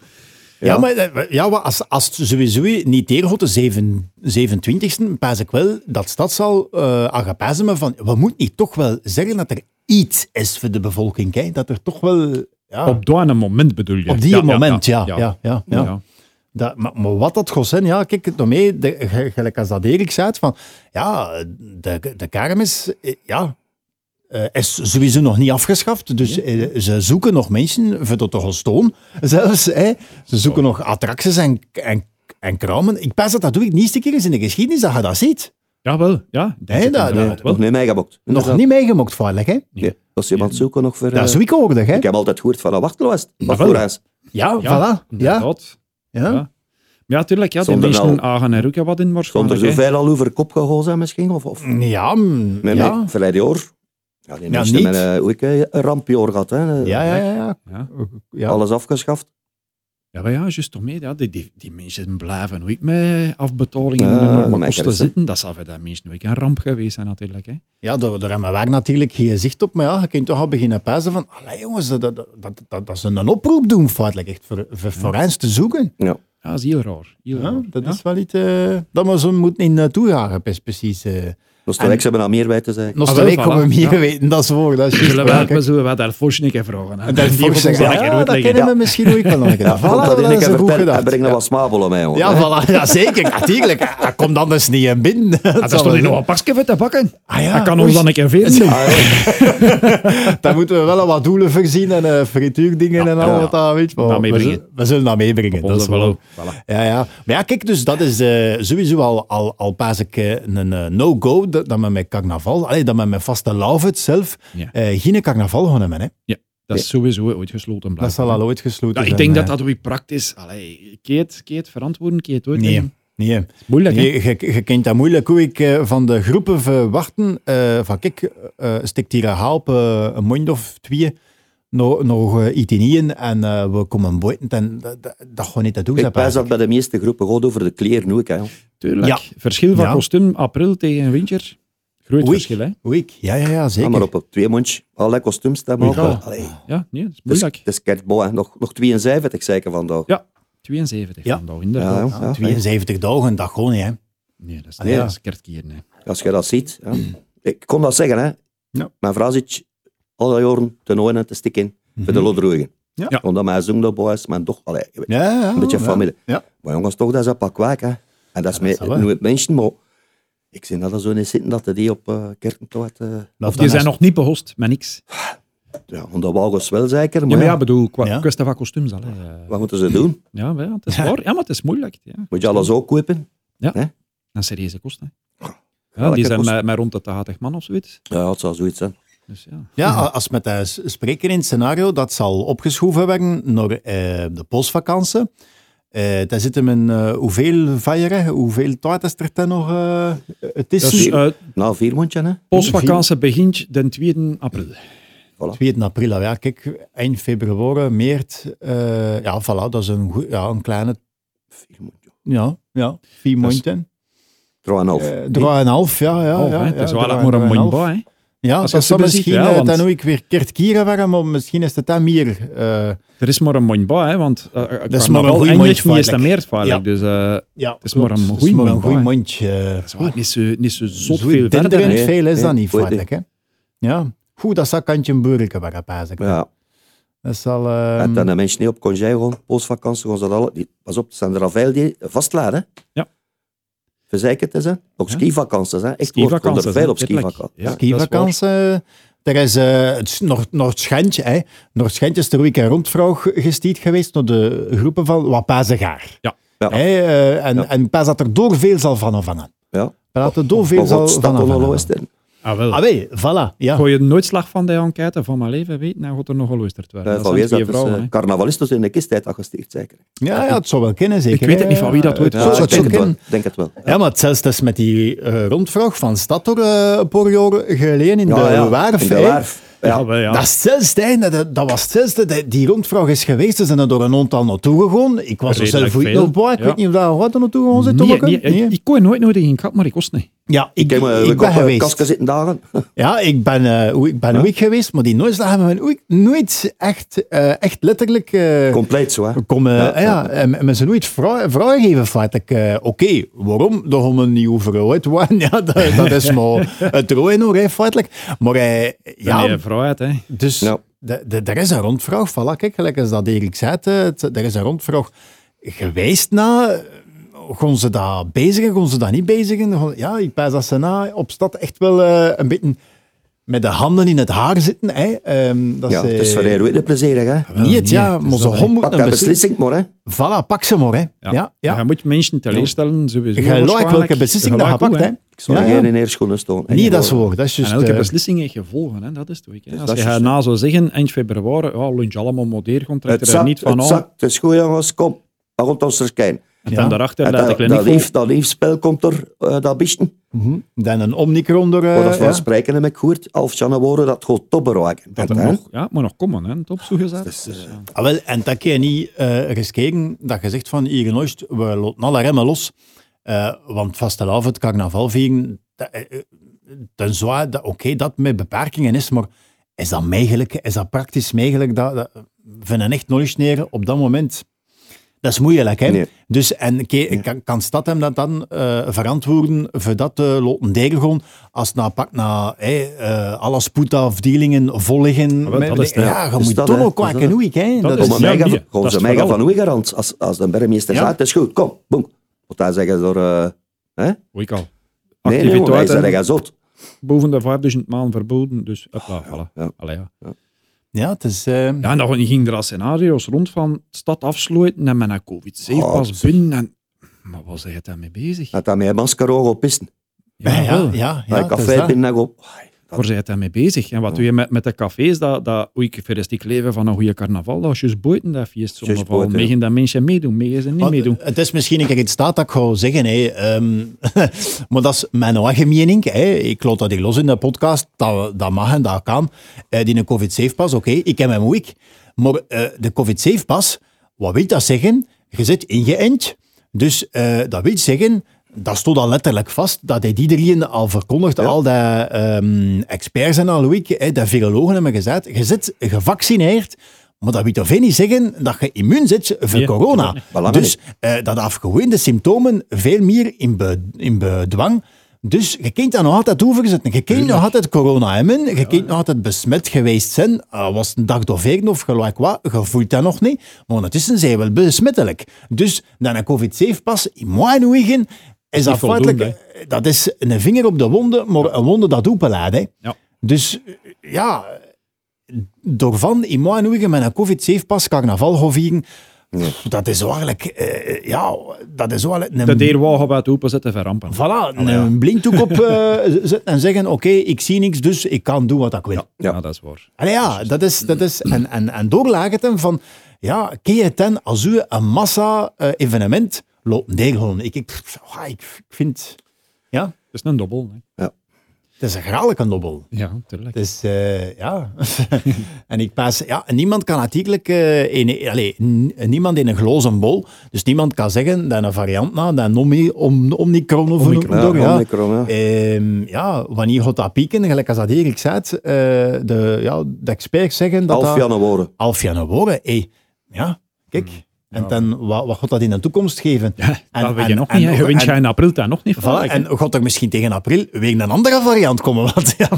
Speaker 3: Ja,
Speaker 5: Ja.
Speaker 3: maar eh, ja, maar als, als het sowieso niet tegenhoudt, de zeven- 27e, pas ik wel dat stadsal eh aan gepazen me van, we moeten niet toch wel zeggen dat er iets is voor de bevolking, hè? dat er toch wel... Ja, op,
Speaker 4: Op dat een moment bedoel je?
Speaker 3: die
Speaker 4: Ja, ja,
Speaker 3: moment, ja. ja, ja, ja,
Speaker 4: Ja.
Speaker 3: Dat, maar, maar wat dat gaat zijn, ja, kijk het nog mee, de- ge- gelijk als dat Erik zei, van, ja, de, de kermis eh, ja, eh, is sowieso nog niet afgeschaft, dus eh, ze zoeken nog mensen voor dat te gaan staan, <laughs> zelfs. Hè. Ze zoeken nog attracties en, en, en kramen. Ik pas dat dat doe ik niet eens een keer eens in de geschiedenis dat je dat ziet.
Speaker 4: Jawel, ja. Ik denk
Speaker 3: Hey,
Speaker 4: dat
Speaker 3: nou, dat-
Speaker 4: inderdaad wel.
Speaker 5: Nog niet meegebokt.
Speaker 3: Nog niet meegemokt, veilig, hè?
Speaker 5: Dus, eh, Nee. Als iemand zoeken nog voor...
Speaker 3: Dat is
Speaker 5: eh,
Speaker 3: wiekoordig, hè?
Speaker 5: ik heb altijd gehoord van "Ah, een wachtelast. Wat
Speaker 4: wel.
Speaker 5: voor huis.
Speaker 3: Ja,
Speaker 4: Ja,
Speaker 3: voilà. Ja,
Speaker 4: inderdaad.
Speaker 3: ja.
Speaker 4: Ja. Ja, tuurlijk. Ja, die
Speaker 5: Zonder
Speaker 4: mensen
Speaker 5: wel-
Speaker 4: gaan er ook ja, wat in, maar
Speaker 5: Stond er
Speaker 4: waarschijnlijk, hè.
Speaker 5: zoveel al over kop gegooid zijn misschien? Of, of...
Speaker 3: Ja, mm,
Speaker 5: Nee,
Speaker 3: ja.
Speaker 5: nee, verleden jaar. Ja, die
Speaker 3: Ja,
Speaker 5: mensen
Speaker 3: niet.
Speaker 5: hebben eh, ook eh, een rampjaar gehad. Hè.
Speaker 3: Ja, ja, ja, ja.
Speaker 4: Ja.
Speaker 3: Ja.
Speaker 5: Alles afgeschaft.
Speaker 4: Ja, maar ja, juist toch mee. Ja, die, die, die mensen blijven nooit met afbetalingen
Speaker 5: Ja,
Speaker 4: en enorme
Speaker 5: maar
Speaker 4: kosten
Speaker 5: ergens, hè.
Speaker 4: zitten. Dat zou voor dat mensen nooit een ramp geweest zijn, natuurlijk. Hè.
Speaker 3: Ja, daar, daar hebben wij natuurlijk geen zicht op. Maar ja, je kunt toch al beginnen pijzen van... Allee jongens, dat, dat, dat, dat, dat ze een oproep doen feitelijk. Echt voor, voor, voor eens te zoeken.
Speaker 4: Ja, dat is heel raar. Heel
Speaker 3: Ja,
Speaker 4: raar,
Speaker 3: dat
Speaker 4: ja.
Speaker 3: is wel iets... eh, dat we zo moeten in naartoe gaan, pre- precies. eh
Speaker 5: Dus de
Speaker 3: En-
Speaker 5: Rex hebben daar meer bij te zeggen.
Speaker 3: nog
Speaker 4: Ah,
Speaker 3: de
Speaker 4: wel,
Speaker 3: week
Speaker 4: Ah, voilà,
Speaker 3: komen we hier
Speaker 4: ja.
Speaker 3: weten, dat is voor. Dat is juist
Speaker 4: Zullen
Speaker 3: waar,
Speaker 4: we,
Speaker 3: kijk.
Speaker 4: we zullen we daar Forsnik even vragen. hè.
Speaker 3: En dan
Speaker 4: Die
Speaker 3: volgens
Speaker 4: moet ons
Speaker 3: zeggen,
Speaker 4: dat een
Speaker 3: ja,
Speaker 4: keer
Speaker 3: dat
Speaker 4: uitleggen.
Speaker 3: kennen we misschien ook wel nog. een keer.
Speaker 5: Ja,
Speaker 3: Voilà,
Speaker 5: komt
Speaker 3: dat
Speaker 5: dat in één
Speaker 3: is
Speaker 5: keer
Speaker 3: een goed
Speaker 5: vertellen. Hij
Speaker 3: gedaan.
Speaker 5: brengt nog wat smaabelen mee, jongen.
Speaker 3: Ja, voilà, ja, Ah, zeker, natuurlijk. Hij komt anders dus niet in binnen.
Speaker 4: Ah, daar stond hier nog een pakje voor te pakken.
Speaker 3: Ah ja,
Speaker 4: dat kan ons
Speaker 3: oei.
Speaker 4: dan een keer veren. doen.
Speaker 3: <laughs> Daar Ah, moeten we wel wat doelen voorzien en eh, frituurdingen en al
Speaker 4: ja.
Speaker 3: wat daar, weet je. Maar
Speaker 4: Dat
Speaker 3: we,
Speaker 4: meebrengen.
Speaker 3: zullen- we zullen dat meebrengen.
Speaker 4: Op
Speaker 3: Dat is
Speaker 4: onze
Speaker 3: wel.
Speaker 4: velo. Voilà.
Speaker 3: Ja, ja. Maar ja, kijk, dus dat is eh, sowieso al, al, al pas ik eh, een eh, no-go, dat, dat we met carnaval, allee, dat we met vaste lauwheid zelf,
Speaker 4: Ja.
Speaker 3: eh, geen carnaval gaan hebben. Hè.
Speaker 4: Dat is sowieso ooit gesloten
Speaker 3: Dat
Speaker 4: blijven.
Speaker 3: zal al ooit gesloten
Speaker 4: Ja,
Speaker 3: zijn.
Speaker 4: ik denk
Speaker 3: eh.
Speaker 4: dat dat weer praktisch... Allee, keet, keet verantwoorden, keet hoor.
Speaker 3: Nee. Nee.
Speaker 4: Moeilijk, hè?
Speaker 3: Nee, je, je kent dat moeilijk hoe ik eh, van de groepen verwachten. eh, van kijk, eh stikt hier een halp, eh, een mond of twee, nog, nog eh, iets in één en eh, we komen buiten. En dat, dat, dat gewoon niet te doen.
Speaker 5: Ik
Speaker 3: zijn,
Speaker 5: pijs dat
Speaker 3: eigenlijk.
Speaker 5: bij de meeste groepen gaat over de kleren ook. Hè.
Speaker 4: Tuurlijk.
Speaker 3: Ja.
Speaker 4: Verschil van
Speaker 3: Ja.
Speaker 4: kostuum april tegen winter. Groot
Speaker 3: Oei.
Speaker 4: verschil, hè?
Speaker 3: Oei, ja, ja, ja, zeker.
Speaker 5: Ja, maar op het twee mondje, allerlei kostuums te maken.
Speaker 4: Ja.
Speaker 5: Allee, het
Speaker 4: Ja, nee, dat is
Speaker 5: is,
Speaker 3: Dus-
Speaker 4: moeilijk.
Speaker 5: het is kerstboy, hè. nog, nog 72 zeker vandaag.
Speaker 4: Ja, 72
Speaker 3: Ja.
Speaker 4: vandaag, inderdaad.
Speaker 5: Ja,
Speaker 3: Ja, Ah,
Speaker 5: ja,
Speaker 3: 72 dagen, dat gewoon niet, hè.
Speaker 4: Nee, dat is,
Speaker 3: Allee,
Speaker 4: dat
Speaker 3: ja.
Speaker 4: is kerstkeer, nee.
Speaker 5: Als je dat ziet. Hè. Ik kon dat zeggen, hè.
Speaker 3: Ja.
Speaker 5: Mijn vrouw zit al die jaren te nooien en te stikken voor de lodroegen.
Speaker 3: Mhm. Ja.
Speaker 4: Ja.
Speaker 5: Omdat mijn zoon dat is, mijn dochter, allee, je weet,
Speaker 3: Ja, ja,
Speaker 5: een beetje
Speaker 3: Oh, ja.
Speaker 5: familie.
Speaker 3: Ja.
Speaker 5: Maar jongens, toch, dat is een pak wijk, hè. En dat is met
Speaker 3: zal wel.
Speaker 5: nieuwe mensen, maar ik zie dat er zo niet zitten dat hij die op eh kerkentoet... eh
Speaker 3: Of
Speaker 4: Die zijn nog niet behost met
Speaker 3: <laughs>
Speaker 4: niks.
Speaker 5: ja, onder wagens wel zeker,
Speaker 4: Ja,
Speaker 5: maar
Speaker 4: maar
Speaker 5: ja,
Speaker 4: ja, bedoel, qua
Speaker 3: Ja.
Speaker 4: kwestie van kostuums. allee, eh.
Speaker 5: wat moeten ze doen?
Speaker 4: Ja, maar ja, het is waar. Ja, maar het is moeilijk. Ja.
Speaker 5: Moet je alles ook kopen?
Speaker 4: Dat is serieuze kosten. hè. Ja,
Speaker 5: dat
Speaker 4: die
Speaker 5: kan
Speaker 4: zijn
Speaker 5: kosten.
Speaker 4: met, met rond de 80 man of zoiets.
Speaker 5: Ja, het zou zoiets zijn.
Speaker 4: Dus ja.
Speaker 3: Ja, a- als met de s- spreker in het scenario, dat zal opgeschoven worden naar eh, de postvakantie. Eh, daar zitten men eh, hoeveel vijeren, hoeveel taart is er ten nog? eh, het is
Speaker 4: Dus eh,
Speaker 5: Nou, vier mondje, hè.
Speaker 4: postvakantie begint de 2 april.
Speaker 3: Ah, 2 april, ja, kijk, eind februari, maart. eh, ja, voilà, dat is een, goe- ja, een kleine,
Speaker 5: Vier mondje.
Speaker 3: ja, ja, vier
Speaker 4: Dat is-
Speaker 3: maanden.
Speaker 5: Drieënhalf.
Speaker 3: Eh, Drieënhalf, ja, ja.
Speaker 4: Oh,
Speaker 3: ja,
Speaker 4: hè,
Speaker 3: ja,
Speaker 4: het is wel
Speaker 3: drieënhalf.
Speaker 4: maar een mooi bij. hè.
Speaker 3: Ja, dat
Speaker 4: Als je het zo
Speaker 3: zou
Speaker 4: beziet,
Speaker 3: misschien
Speaker 4: ja,
Speaker 3: eh,
Speaker 4: want-
Speaker 3: dan ook weer keert kieren waren, maar misschien is het dan meer. eh,
Speaker 4: Er is maar een mooi bij, hè, want eh, eh,
Speaker 3: maar
Speaker 4: carnaval
Speaker 3: een goeie
Speaker 4: eindigt
Speaker 3: mondje,
Speaker 4: niet is dat
Speaker 3: feitelijk.
Speaker 4: meer feitelijk. Dus eh,
Speaker 3: ja,
Speaker 4: is maar een
Speaker 3: klopt. Het
Speaker 4: goeie
Speaker 3: maar een
Speaker 4: mond,
Speaker 3: goeie
Speaker 4: hè.
Speaker 3: mondje. eh.
Speaker 4: dat is wel Ah, niet zo, niet zo zot
Speaker 3: Zo
Speaker 4: veel verder. hè.
Speaker 3: denderend
Speaker 5: hè?
Speaker 3: Dus veel is
Speaker 5: Nee,
Speaker 3: dat
Speaker 5: nee,
Speaker 3: niet,
Speaker 5: goed
Speaker 3: feitelijk. Hè? Ja. Goed, dat zal kantje een burger waar pijs ik.
Speaker 5: Ja.
Speaker 3: Dat zal... ehm,
Speaker 5: en dan de mensen niet op congé gaan, postvakantie gaan ze dat alle... Die, pas op, het zijn er al veel die vastladen. hè.
Speaker 4: Ja.
Speaker 5: Verzekerd is, hè. Ook
Speaker 4: Ja.
Speaker 5: skivakanties, hè. Echt,
Speaker 4: Skivakanties,
Speaker 5: ik kom er veel
Speaker 4: hè,
Speaker 5: op
Speaker 4: letterlijk.
Speaker 5: skivakantie.
Speaker 4: Ja, dat is
Speaker 3: skivakantie. Er is eh het is Noord- Noord-Schentje, hè. Noord-Schentje is er week een rondvrouw ge- gestiet geweest door de groepen van Wapazegaar.
Speaker 4: Ja.
Speaker 5: Ja.
Speaker 3: Hè, eh, en,
Speaker 5: Ja.
Speaker 3: en pas dat er door veel zal van afhangen.
Speaker 5: Ja.
Speaker 3: Pas dat er door veel
Speaker 5: Maar
Speaker 3: zal
Speaker 5: wat
Speaker 3: van
Speaker 5: staat er nog
Speaker 3: afhangen.
Speaker 5: eens in?
Speaker 4: Ah, wel.
Speaker 3: Ah, wee, voilà. Ja.
Speaker 4: Gooi je nooit slag van die enquête van mijn leven weet, dan gaat er nog geluisterd worden.
Speaker 5: Eh,
Speaker 4: dat
Speaker 5: Van
Speaker 4: zijn
Speaker 5: wie is dat?
Speaker 4: twee
Speaker 5: Dus,
Speaker 4: vrouwen.
Speaker 5: eh, Carnavalisten in de kisttijd dat gesticht, zeker.
Speaker 3: Ja, ja, het zou wel kennen, zeker.
Speaker 4: Ik weet het
Speaker 3: hè.
Speaker 4: niet van wie dat ooit
Speaker 3: Het
Speaker 4: was.
Speaker 3: zou-
Speaker 5: Ja, ik
Speaker 3: het
Speaker 5: denk
Speaker 3: zou
Speaker 5: het wel.
Speaker 3: kennen.
Speaker 5: Ik denk het wel.
Speaker 3: Ja, maar hetzelfde is met die eh, rondvraag van Stator eh, een paar jaar geleden in
Speaker 5: Ja,
Speaker 3: de
Speaker 5: ja,
Speaker 3: Waarf.
Speaker 5: in de
Speaker 3: hè.
Speaker 5: Werf.
Speaker 4: hè.
Speaker 5: Ja.
Speaker 4: Ja, wel, ja.
Speaker 3: Dat, is hetzelfde, hè. dat, dat was hetzelfde. Die- Die rondvraag is geweest, ze zijn er door een aantal naartoe gegaan. Ik was er
Speaker 4: Redelijk
Speaker 3: zelf ooit
Speaker 4: veel,
Speaker 3: nog bij. Ik
Speaker 4: ja.
Speaker 3: weet niet of daar wat er naartoe gegaan zit.
Speaker 4: Nee,
Speaker 3: Tommeke?
Speaker 4: nee, ik-
Speaker 3: Nee.
Speaker 4: Ik kon nooit nodig in kat, maar ik kost niet.
Speaker 3: Ja, ik,
Speaker 5: Ik heb eh,
Speaker 3: ik,
Speaker 5: een
Speaker 3: ben geweest.
Speaker 5: kastje zitten dagen.
Speaker 3: Ja, ik ben, eh, oei, ik ben een week geweest, maar die nooit hebben we ooit- nooit echt, eh, echt letterlijk... eh,
Speaker 5: Compleet zo, hè.
Speaker 3: we komen
Speaker 5: Ja,
Speaker 3: eh, ah ja, ja,
Speaker 5: ja.
Speaker 3: en en mensen nooit vra- vragen geven. feitelijk. Eh, Oké, waarom? Daar gaan we niet over uit. worden. <laughs> Ja, dat, dat is <laughs> maar het rooien hoor, hè, feitelijk. Maar eh, ja,
Speaker 4: Ja. vrouw uit, hè.
Speaker 3: dus
Speaker 5: Ja.
Speaker 3: de- de- er is een rondvraag. Voilà, kijk, gelijk als dat Erik zei, eh, het- er is een rondvraag geweest na. Gaan ze dat bezigen? Gaan ze dat niet bezigen? Gaan- Ja, ik pijs dat ze na op stad echt wel eh, een beetje met de handen in het haar zitten. Hè. Ehm, dat
Speaker 5: Ja,
Speaker 3: is,
Speaker 5: het is
Speaker 3: eh,
Speaker 5: voor hen ook niet plezierig, hè.
Speaker 3: Niet het, ja. Maar ze hom
Speaker 5: Pak
Speaker 3: moet
Speaker 5: dat
Speaker 3: een beslissing.
Speaker 5: beslissing maar, hè.
Speaker 3: Voilà, pak ze maar. Hè. Ja, ja.
Speaker 4: Je moet mensen teleurstellen, sowieso.
Speaker 3: Je like
Speaker 4: waarschijnlijk.
Speaker 3: welke beslissing dat je
Speaker 4: gelijk
Speaker 3: pakt. Hè.
Speaker 4: ook,
Speaker 5: Ik zou
Speaker 3: Ja,
Speaker 5: ja,
Speaker 3: ja.
Speaker 5: in haar schoenen staan.
Speaker 3: Niet dat soort. Dat is
Speaker 4: En
Speaker 3: juist...
Speaker 4: elke
Speaker 3: eh,
Speaker 4: beslissing heeft gevolgen, hè? dat is het ook. hè.
Speaker 5: dat
Speaker 4: Als
Speaker 5: is
Speaker 4: je
Speaker 5: juist.
Speaker 4: na zou zeggen, eind februari, ja, lunch allemaal modeercontract,
Speaker 5: Het
Speaker 4: er niet
Speaker 5: zakt,
Speaker 4: van
Speaker 5: het
Speaker 4: aan.
Speaker 5: zakt. Het is goed, jongens. Kom, dat komt ons er kijken.
Speaker 4: En
Speaker 3: Ja.
Speaker 4: dan daarachter,
Speaker 5: En
Speaker 4: dat de
Speaker 5: Dat, dat,
Speaker 4: kliniek
Speaker 5: lief, dat liefspel komt er, eh, dat bisten.
Speaker 3: mhm. Dan een omnicron door... eh,
Speaker 5: Waar Oh, dat we
Speaker 3: ja.
Speaker 5: van spreken heb ik gehoord. Half januari, dat gaat topper raken.
Speaker 4: vol- dat
Speaker 5: Hè?
Speaker 4: nog, ja, moet nog komen, hè? top zogezegd. Dus, ja.
Speaker 3: Ah, wel, en dat kan je niet eh, riskeren dat je zegt van hier in Oost, we laten alle remmen los. Eh, want vastelavond, carnaval vieren, dat, eh, eh, tenzij dat- oké, dat met beperkingen is, maar is dat mogelijk? Is dat praktisch mogelijk? Dat, dat vinden echt nooit sneren op dat moment. Dat is moeilijk, hè?
Speaker 5: Nee.
Speaker 3: Dus en ke- kan, kan stad hem dat dan eh, verantwoorden voor dat te laten delen gewoon, als het nou pakt na hey, eh alle spoedafdelingen vol liggen?
Speaker 4: Ah, wel,
Speaker 3: met-
Speaker 4: dat is het, hè.
Speaker 3: ja, je
Speaker 5: Is
Speaker 3: moet
Speaker 5: dat,
Speaker 3: toch
Speaker 5: hè?
Speaker 3: ook
Speaker 5: Dat is
Speaker 3: kwaken
Speaker 5: dat.
Speaker 3: week, hè?
Speaker 4: Dat
Speaker 3: Dat
Speaker 4: is
Speaker 3: is-
Speaker 5: Gewoon
Speaker 4: Ja,
Speaker 5: mij
Speaker 4: nee, dat is
Speaker 5: gaan ze mij
Speaker 4: vooral-
Speaker 5: van hoe garant. Als, als de burgemeester
Speaker 3: Ja.
Speaker 5: gaat, het is goed. Kom, boem. Wat hij zeggen door... eh hè?
Speaker 4: Hoe ik al.
Speaker 5: Nee, nee, jongen, wij
Speaker 4: Activiteiten
Speaker 5: zijn zot.
Speaker 4: boven de 5000 maan verboden, dus
Speaker 3: Ah,
Speaker 4: hopla, voilà.
Speaker 5: ja.
Speaker 4: Allee, ja.
Speaker 3: Ja, het is... eh,
Speaker 4: Ja, en dan ging er al scenario's rond van stad afsluiten en met een
Speaker 3: Ah,
Speaker 4: covid-safe-pas
Speaker 5: Oh,
Speaker 4: binnen. En... Maar waar zijn je daarmee bezig?
Speaker 5: Dat hij met een masker ook op pissen.
Speaker 3: ja, ja,
Speaker 4: wel.
Speaker 3: ja,
Speaker 5: Ja,
Speaker 3: het is
Speaker 5: café
Speaker 3: dat.
Speaker 5: binnen op.
Speaker 4: Waar zijn je daarmee bezig? En wat doe je met, met de cafés? Dat, dat, oei, ik verrest ik leven van een goede carnaval. Dat is juist buiten dat feest.
Speaker 5: Juist
Speaker 4: Sommige van
Speaker 5: buiten, ja.
Speaker 4: meegen dat mensen meedoen, meegen ze niet
Speaker 3: Want
Speaker 4: meedoen.
Speaker 3: Het is misschien een keer iets staat dat ik ga zeggen, hè. ehm, <laughs> maar dat is mijn eigen mening. Hè. Ik laat dat hier los in de podcast. Dat, dat mag en dat kan. Eh, die een COVID-safe-pas, oké, ik heb hem ook. Maar eh, de COVID-safe-pas, wat wil dat zeggen? Je zit ingeënt. Dus eh, dat wil zeggen, dat stond al letterlijk vast, dat heeft iedereen al verkondigd, al die ehm, experts en al week, hè, de virologen hebben gezegd, je zit gevaccineerd, maar dat wil toch veel niet zeggen dat je immuun zit voor
Speaker 4: Ja,
Speaker 3: corona.
Speaker 5: Belangrijk.
Speaker 3: Dus eh, dat heeft gewoon de symptomen veel meer in, be- in bedwang. Dus je kunt dat nog altijd overzetten. Je kunt nog altijd corona hebben. Je kunt nog altijd besmet geweest zijn. Eh, was het een dag door veer of gelijk wat. Je voelt dat nog niet. Maar ondertussen zijn we wel besmettelijk. Dus dan een COVID-safe-pas in mijn ogen is dat
Speaker 4: voldoende,
Speaker 3: feitelijk... Dat is een vinger op de wonde, maar een wonde dat openlaat. hè.
Speaker 4: Ja.
Speaker 3: Dus eh, ja, door van in mijn ogen met een COVID-safe-pas carnaval gaan vieren, dat is eigenlijk, eh, ja, dat is wel een,
Speaker 4: De deur wou wat openzetten van rampen.
Speaker 3: voilà, een blinddoek op eh, zetten en zeggen, oké, ik zie niks, dus ik kan doen wat ik wil.
Speaker 4: Ja.
Speaker 5: Ja.
Speaker 4: dat is waar.
Speaker 3: Allee, ja, dat is, dat is en, en, en doorlaag het hem van, ja, kun je het dan als u een massa-evenement loopt degelen? Ik, ik, pff, ah, ik, ik vind, ja,
Speaker 4: Het is een dobbel. Hè.
Speaker 3: het is een gralijke dobbel.
Speaker 4: Ja, tuurlijk.
Speaker 3: Dus eh, ja, <laughs> en ik pas, ja, niemand kan natuurlijk, eh, in, allee, n- niemand in een glozen bol, dus niemand kan zeggen dat een variant na, dat een omni, om, omnicron of een
Speaker 5: Ja,
Speaker 3: door, ja.
Speaker 5: Omicron, ja.
Speaker 3: Ehm, ja, wanneer gaat dat pieken, gelijk als dat hier ik zei, het, eh, de, ja, de experts zeggen dat
Speaker 5: Half
Speaker 3: dat
Speaker 5: januari.
Speaker 3: half januari, hey, eh, ja, kijk,
Speaker 5: Mm.
Speaker 3: en dan, wat, wat gaat dat in de toekomst geven? en,
Speaker 4: dat weet je
Speaker 3: en-
Speaker 4: nog niet. hè.
Speaker 3: en-
Speaker 4: Je wint
Speaker 3: en-
Speaker 4: jij in april daar nog niet van.
Speaker 3: Voilà,
Speaker 4: Kijk, hè.
Speaker 3: en gaat er misschien tegen april weer een andere variant komen? Want <laughs> ja,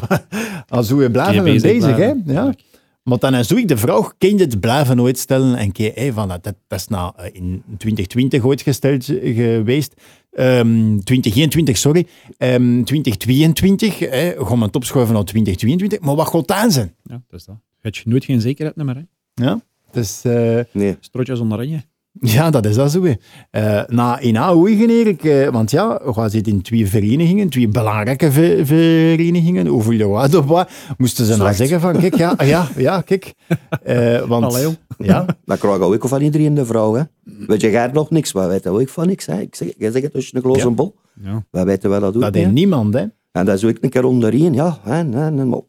Speaker 3: als we blijven
Speaker 4: Kun je
Speaker 3: bezig, hè?
Speaker 4: bezig blijven.
Speaker 3: Ja. Maar dan zoek ik de vraag, kun je het blijven ooit stellen? En kijk, hé, van, dat, dat is nou eh, in 2020 ooit gesteld eh, geweest. Ehm 2021, sorry. Ehm 2022, hè, gaan we het opschuiven naar 2022. nou Maar wat gaat aan zijn?
Speaker 4: Ja, dat is dat. Heb je nooit geen zekerheid meer, hè?
Speaker 3: Ja? Dus, eh,
Speaker 5: Nee.
Speaker 4: Strotjes onder je.
Speaker 3: Ja, dat is dat zo. hè. Eh na in Aoeigen, Erik, eh, want ja, we zitten in twee verenigingen, twee belangrijke ve- verenigingen, hoeveel je wat of wat, moesten ze nou
Speaker 5: Slecht.
Speaker 3: zeggen van, kijk, ja, ja, ja, kijk. Eh, want,
Speaker 4: Allee, joh.
Speaker 5: <laughs>
Speaker 3: ja,
Speaker 5: Dat krijg ik ook van iedereen de vrouw. Hè. Weet je, gaat nog niks. Wij weten ook van niks. Hè. Ik zeg, jij zegt het tussen een glozen bol.
Speaker 4: Ja.
Speaker 5: Wij weten wel dat ook.
Speaker 3: dat
Speaker 5: niet,
Speaker 3: heeft
Speaker 5: hè.
Speaker 3: niemand, hè.
Speaker 5: En dat is ook een keer onderin. Ja, hè, nee, nee, maar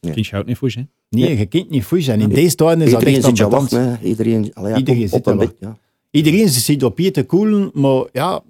Speaker 4: Kind je houdt niet voor, hè?
Speaker 3: Nee, je kunt niet foei zijn. In deze tuin is dat
Speaker 5: iedereen
Speaker 3: echt
Speaker 5: zit je
Speaker 3: ambetant.
Speaker 5: wachten. Hè. Iedereen, allee, ja,
Speaker 3: Iedereen
Speaker 5: kom, op
Speaker 3: zit
Speaker 5: een
Speaker 3: te
Speaker 5: bed. Ja.
Speaker 3: Iedereen zit op hier te koelen, maar ja,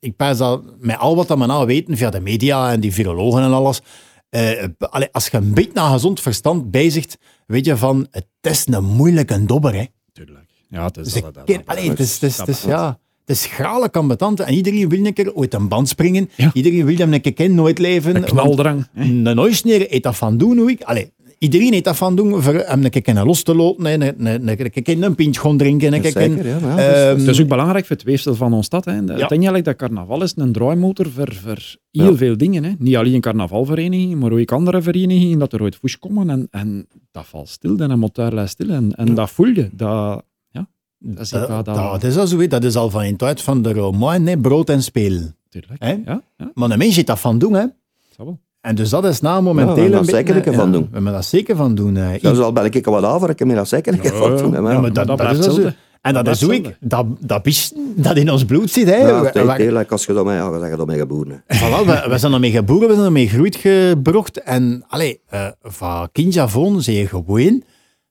Speaker 3: ik pijs dat met al wat dat we nou weten via de media en die virologen en alles. eh, b- allee, als je een beetje naar gezond verstand bezigt, weet je van, het is een moeilijke dobber, hè.
Speaker 4: Tuurlijk. Ja, het is
Speaker 3: Dus
Speaker 4: dat, dat,
Speaker 3: ik-
Speaker 4: dat.
Speaker 3: allee, het is, het is, het is,
Speaker 4: dat-
Speaker 3: ja, het is grale kambetanten. En iedereen wil een keer ooit een band springen.
Speaker 4: Ja.
Speaker 3: Iedereen wil hem een keer kennen, nooit leven.
Speaker 4: Knaldrang. hè.
Speaker 3: want Een oorsneer eet dat van doen, hoe ik. Allee, Iedereen heeft dat van doen, voor hem een keer kunnen los te lopen, een, een, een, een, keer een pintje gaan drinken. Een keer
Speaker 5: Zeker, ja, maar ja,
Speaker 3: ehm,
Speaker 5: dat is-
Speaker 4: Het is ook belangrijk voor het weefsel van ons stad. Hè. De- Uiteindelijk, dat carnaval is een draaimotor voor, voor heel
Speaker 5: Ja.
Speaker 4: veel dingen. Hè. Niet alleen carnavalverenigingen, maar ook andere verenigingen, dat er ooit foes komen. En, en dat valt stil, dan moet daar lijst stil. En, en dat voel je. Dat, ja, dat is
Speaker 3: dat,
Speaker 4: dat,
Speaker 3: Eh, dat is al zo, hè. dat is al van in het uit van de Romein, hè, brood en speel.
Speaker 4: tuurlijk.
Speaker 3: hè?
Speaker 4: Ja, ja,
Speaker 3: Maar een mens heeft dat van doen, hè.
Speaker 4: dat wel.
Speaker 3: En dus dat is na
Speaker 5: Ja, we
Speaker 3: momenteel...
Speaker 5: hebben
Speaker 3: een
Speaker 5: dat
Speaker 3: beetje-
Speaker 5: zeker een keer van doen.
Speaker 3: We hebben dat zeker van doen. eh, hè.
Speaker 5: Dat is dus al ben ik wat af, ik heb me dat zeker een keer van doen. hè, maar
Speaker 3: Ja,
Speaker 5: ja.
Speaker 3: maar dat,
Speaker 4: dat
Speaker 3: dat
Speaker 4: blijft
Speaker 3: is al zo.
Speaker 4: hetzelfde.
Speaker 3: En dat,
Speaker 4: Dat
Speaker 3: is hoe
Speaker 4: blijft
Speaker 3: ik, dat, dat is dat in ons bloed zit. Hè.
Speaker 5: Ja, het
Speaker 3: Waar-
Speaker 5: is eerlijk, als je dat mee, ja, dan zeg je dat mee geboren.
Speaker 4: Eh,
Speaker 5: hè.
Speaker 3: Voilà, we, we zijn ermee geboren, we zijn ermee groeit gebrocht. En allee, eh, van kinds af aan zie je gewoon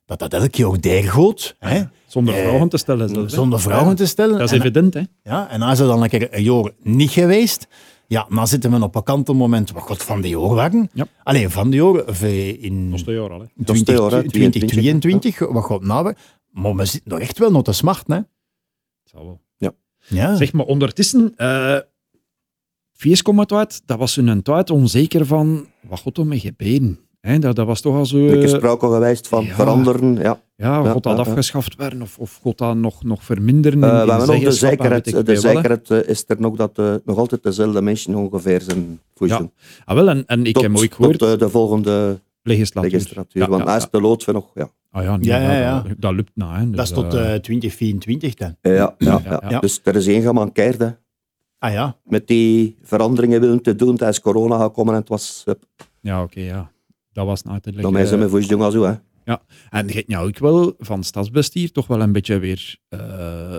Speaker 3: dat dat elk jaar dergoot. Hè,
Speaker 4: Zonder
Speaker 3: Eh,
Speaker 4: vragen te stellen. zelfs, hè.
Speaker 3: zonder vragen te stellen.
Speaker 4: Dat is
Speaker 3: En-
Speaker 4: evident, hè.
Speaker 3: ja, en als ze dan een keer een jaar niet geweest, ja, dan zitten we op een kantelmoment. Wat god van die jaar waren.
Speaker 4: Ja.
Speaker 3: Allee, van die jaar of, eh, in
Speaker 4: Dat is jaar al, hè.
Speaker 5: Dat is
Speaker 3: 20,
Speaker 5: het jaar, hè,
Speaker 3: 2022, wat god nou. Maar we zitten nog echt wel nog te smart, hè?
Speaker 4: Dat zal wel.
Speaker 3: Ja.
Speaker 4: Zeg maar, ondertussen, eh vies komt het uit, dat was hun tijd onzeker van, wat god om mijn gebeden. Hè, dat, dat was toch al zo...
Speaker 5: Een keer
Speaker 4: eh,
Speaker 5: sprake al geweest van
Speaker 4: ja.
Speaker 5: veranderen. Ja.
Speaker 4: Ja,
Speaker 5: Ja,
Speaker 4: God dat
Speaker 5: ja, ja.
Speaker 4: afgeschaft werden of, of God dat nog, nog verminderen. in-
Speaker 5: Eh,
Speaker 4: in
Speaker 5: we hebben ook de
Speaker 4: zeggenschap en weet ik
Speaker 5: zekerheid, de
Speaker 4: veel wat, hè.
Speaker 5: zekerheid eh, is er nog dat eh, nog altijd dezelfde mensen ongeveer zijn voor
Speaker 4: Ja, Ah, wel, en, en ik
Speaker 5: tot,
Speaker 4: heb ooit gehoord,
Speaker 5: tot eh, de volgende
Speaker 4: legislatuur.
Speaker 5: legislatuur.
Speaker 4: Ja,
Speaker 5: want
Speaker 4: ja,
Speaker 5: hij is
Speaker 4: ja.
Speaker 5: de lood van nog. Ja,
Speaker 4: Ah, ja, nee,
Speaker 3: Ja, ja,
Speaker 4: dat-
Speaker 3: ja.
Speaker 4: Dat, dat lukt na. Hè, dus,
Speaker 3: dat is tot
Speaker 4: eh,
Speaker 3: eh, 2024 dan.
Speaker 5: Eh, ja, ja,
Speaker 4: Ja,
Speaker 5: ja,
Speaker 4: ja.
Speaker 5: Dus er is één gemankeerd hè,
Speaker 3: Ah ja.
Speaker 5: met die veranderingen willen te doen. Tijdens corona gekomen en het was. hup,
Speaker 4: ja, oké, ja. Dat was nou uiteindelijk...
Speaker 5: dan zijn
Speaker 4: eh,
Speaker 5: we voor je jongen zo. Hè.
Speaker 4: En je hebt nou ook wel van stadsbestier toch wel een beetje weer... eh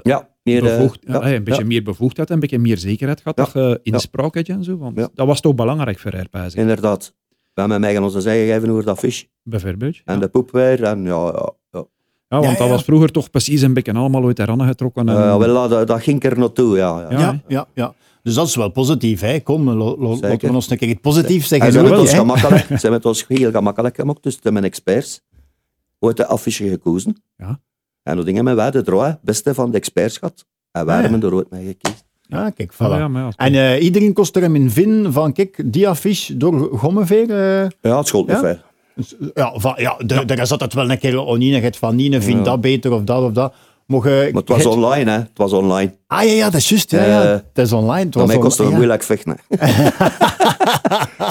Speaker 5: Ja, meer, eh,
Speaker 4: bevoegd,
Speaker 5: ja,
Speaker 4: eh, een beetje meer bevoegdheid en een beetje meer zekerheid gehad. eh,
Speaker 5: Ja,
Speaker 4: Dat je inspraak had en zo. Want
Speaker 5: Ja.
Speaker 4: dat was toch belangrijk voor Herpijs.
Speaker 5: ja, inderdaad. We hebben mij onze zij gegeven over dat vis
Speaker 4: Bijvoorbeeld. Ja.
Speaker 5: en de poep weer. En ja, ja, ja.
Speaker 4: Ja, want
Speaker 3: Ja,
Speaker 4: dat
Speaker 3: ja.
Speaker 4: was vroeger toch precies een beetje allemaal uit de rannen getrokken. En,
Speaker 5: Eh, wel, dat, dat ging er naartoe. Ja, ja.
Speaker 4: Ja, hè.
Speaker 3: Ja, ja, ja. Dus dat is wel positief, hè? Kom, lo- lo-
Speaker 5: Zeker.
Speaker 3: laten we ons een keer iets positiefs
Speaker 5: En
Speaker 3: zeggen.
Speaker 5: ze
Speaker 4: doet
Speaker 5: hebben
Speaker 4: wel,
Speaker 5: het ons
Speaker 3: hè?
Speaker 5: gemakkelijk, ze hebben het ons heel gemakkelijk gemaakt, dus de mijn experts. Ooit de affiche gekozen.
Speaker 4: Ja.
Speaker 5: En dat dingen met wij de droit, beste van de experts gehad. En wij
Speaker 3: Ah, ja.
Speaker 5: hebben er ooit mee gekozen.
Speaker 3: Ja, kijk, voilà.
Speaker 4: Ah, ja, maar ja,
Speaker 3: En eh, iedereen kost er hem in vin van, kijk, die affiche door Gommeveer. eh,
Speaker 5: Ja, het schoot
Speaker 3: Ja?
Speaker 5: nog veel.
Speaker 3: ja, van, ja, de- daar zat het wel een keer oneenigheid van, Nine vindt
Speaker 5: Ja.
Speaker 3: dat beter of dat of dat. Mocht, eh,
Speaker 5: Maar het was
Speaker 3: <laughs> het-
Speaker 5: online, hè. Het was online.
Speaker 3: Ah ja, ja, dat is juist. Ja, ja.
Speaker 5: Eh,
Speaker 3: het is online. Het
Speaker 5: Voor
Speaker 3: was
Speaker 5: mij kostte het
Speaker 3: online, ja.
Speaker 5: moeilijk vechten. hè.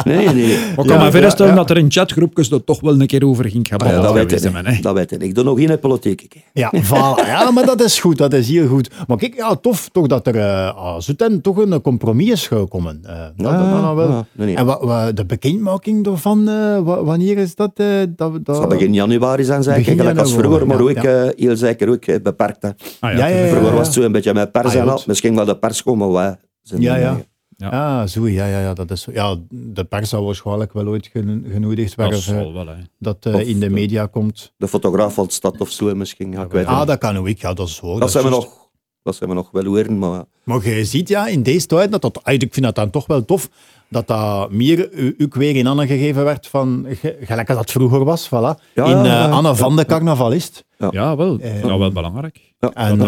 Speaker 5: nee, nee.
Speaker 4: Maar ik kan
Speaker 3: Ja,
Speaker 4: me voorstellen
Speaker 3: ja, ja.
Speaker 4: dat er in chatgroepjes er toch wel een keer over ging gaan.
Speaker 5: Ah, Ja, dat, weet
Speaker 4: weten
Speaker 5: ik,
Speaker 4: men, hè.
Speaker 5: niet. dat weet ik. niet. Ik doe nog geen politiek. ik.
Speaker 3: Ja, voilà. ja, maar dat is goed, dat is heel goed. Maar kijk, ja, tof toch dat er eh ah, Zutten toch een compromis is gekomen. Eh, dat, dat, dat nou wel.
Speaker 5: ja, nee, nee.
Speaker 3: En wa, wa- de bekendmaking daarvan, eh, wa- wanneer is dat? eh dat, dat...
Speaker 5: Het zal begin januari zijn, zeker.
Speaker 3: Begin
Speaker 5: Gelijk als
Speaker 3: januari,
Speaker 5: vroeger, maar
Speaker 3: ja,
Speaker 5: ook eh, heel zeker ook eh, beperkt. hè.
Speaker 4: Ah,
Speaker 3: Ja, ja, ja.
Speaker 5: Vroeger was het zo een beetje met pers
Speaker 3: Ah, ja,
Speaker 5: en al.
Speaker 3: goed.
Speaker 5: Misschien wel de pers komen, maar wij zijn
Speaker 3: Ja,
Speaker 5: er
Speaker 3: ja.
Speaker 5: niet.
Speaker 3: Ja, zo, ja, ja, ja, dat is, ja, de pers zou waarschijnlijk wel ooit geno- genodigd
Speaker 4: Dat
Speaker 3: worden eh,
Speaker 4: zal wel, hè.
Speaker 3: dat eh,
Speaker 5: Of
Speaker 3: in de
Speaker 5: de-
Speaker 3: media komt.
Speaker 5: de fotograaf van de stad of zo misschien. Ja, ik weet het
Speaker 3: Ah,
Speaker 5: niet.
Speaker 3: dat kan ook, ja, dat is hoor.
Speaker 5: dat, zijn we
Speaker 3: is juist.
Speaker 5: nog, dat zijn we nog wel horen, maar
Speaker 3: Maar je ziet ja, in deze tijd, dat dat, eigenlijk, ik vind dat dan toch wel tof, dat dat meer u- ook weer in Anne gegeven werd van, ge- gelijk als dat vroeger was, voilà,
Speaker 5: Ja,
Speaker 3: in
Speaker 5: ja,
Speaker 3: eh,
Speaker 5: ja.
Speaker 3: Anne van de carnavalist.
Speaker 4: Ja, wel.
Speaker 3: Eh,
Speaker 4: ja, wel belangrijk.
Speaker 3: En, eh,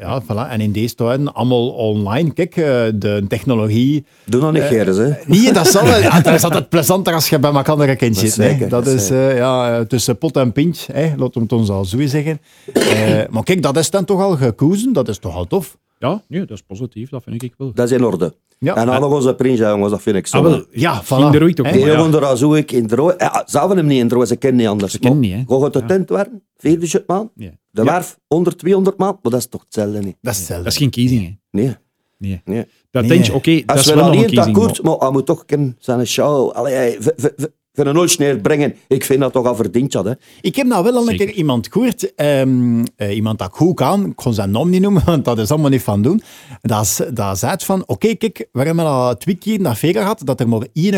Speaker 3: ja, voilà. en in deze tijden allemaal online. Kijk, eh, de technologie.
Speaker 5: doe
Speaker 3: Eh,
Speaker 5: dat niet, Geres. Hè.
Speaker 3: Nee, dat zal wel. <laughs> Ja, dat is altijd plezanter als je bij elkaar een kind
Speaker 5: Dat is
Speaker 3: zit. hè.
Speaker 5: zeker,
Speaker 3: dat
Speaker 5: dat is
Speaker 3: is eh, ja, eh, tussen pot en pint. Hè. Laat hem het ons al zo zeggen. Eh, maar kijk, dat is dan toch al gekozen. Dat is toch al tof.
Speaker 4: Ja, nee, dat is positief. Dat vind ik wel.
Speaker 5: Dat is in orde.
Speaker 3: Ja. Eh.
Speaker 5: En dan nog onze prins, ja, jongens, dat vind ik zo.
Speaker 4: Ah, wel.
Speaker 3: Ja, voilà.
Speaker 4: Ging er ooit toch
Speaker 3: Hè?
Speaker 5: die
Speaker 4: maar ja.
Speaker 5: jongen daar zoek ik in droog. Ja, ah, ze hebben hem niet in droog, ze kennen niet anders. Ze
Speaker 4: kennen niet, hè.
Speaker 5: Gooi het de tent waren, 400 maand.
Speaker 4: Ja.
Speaker 5: De
Speaker 4: Ja,
Speaker 5: werf, 100, 200 maand. Maar dat is toch hetzelfde niet?
Speaker 3: Dat is hetzelfde.
Speaker 4: dat is geen kiezing, hè.
Speaker 5: Nee.
Speaker 4: Nee.
Speaker 5: nee.
Speaker 4: Dat
Speaker 3: Nee.
Speaker 4: denk je, oké, dat
Speaker 5: Als
Speaker 4: is
Speaker 5: we
Speaker 4: wel nog een
Speaker 5: alleen
Speaker 4: kiezing.
Speaker 5: akkoord, maar hij moet toch een, zijn show. Allee, hey, v- v- v- voor een oorsneer brengen. Ik vind dat toch al verdiend, dat, hè.
Speaker 3: Ik heb nou wel al een
Speaker 4: Zeker.
Speaker 3: keer iemand gehoord, ehm, eh, iemand dat ik goed kan, ik kon zijn naam niet noemen, <laughs> want dat is allemaal niet van doen. Dat, is- dat zei het van, oké, kijk, we hebben al twee keer naar Vega gehad dat er maar één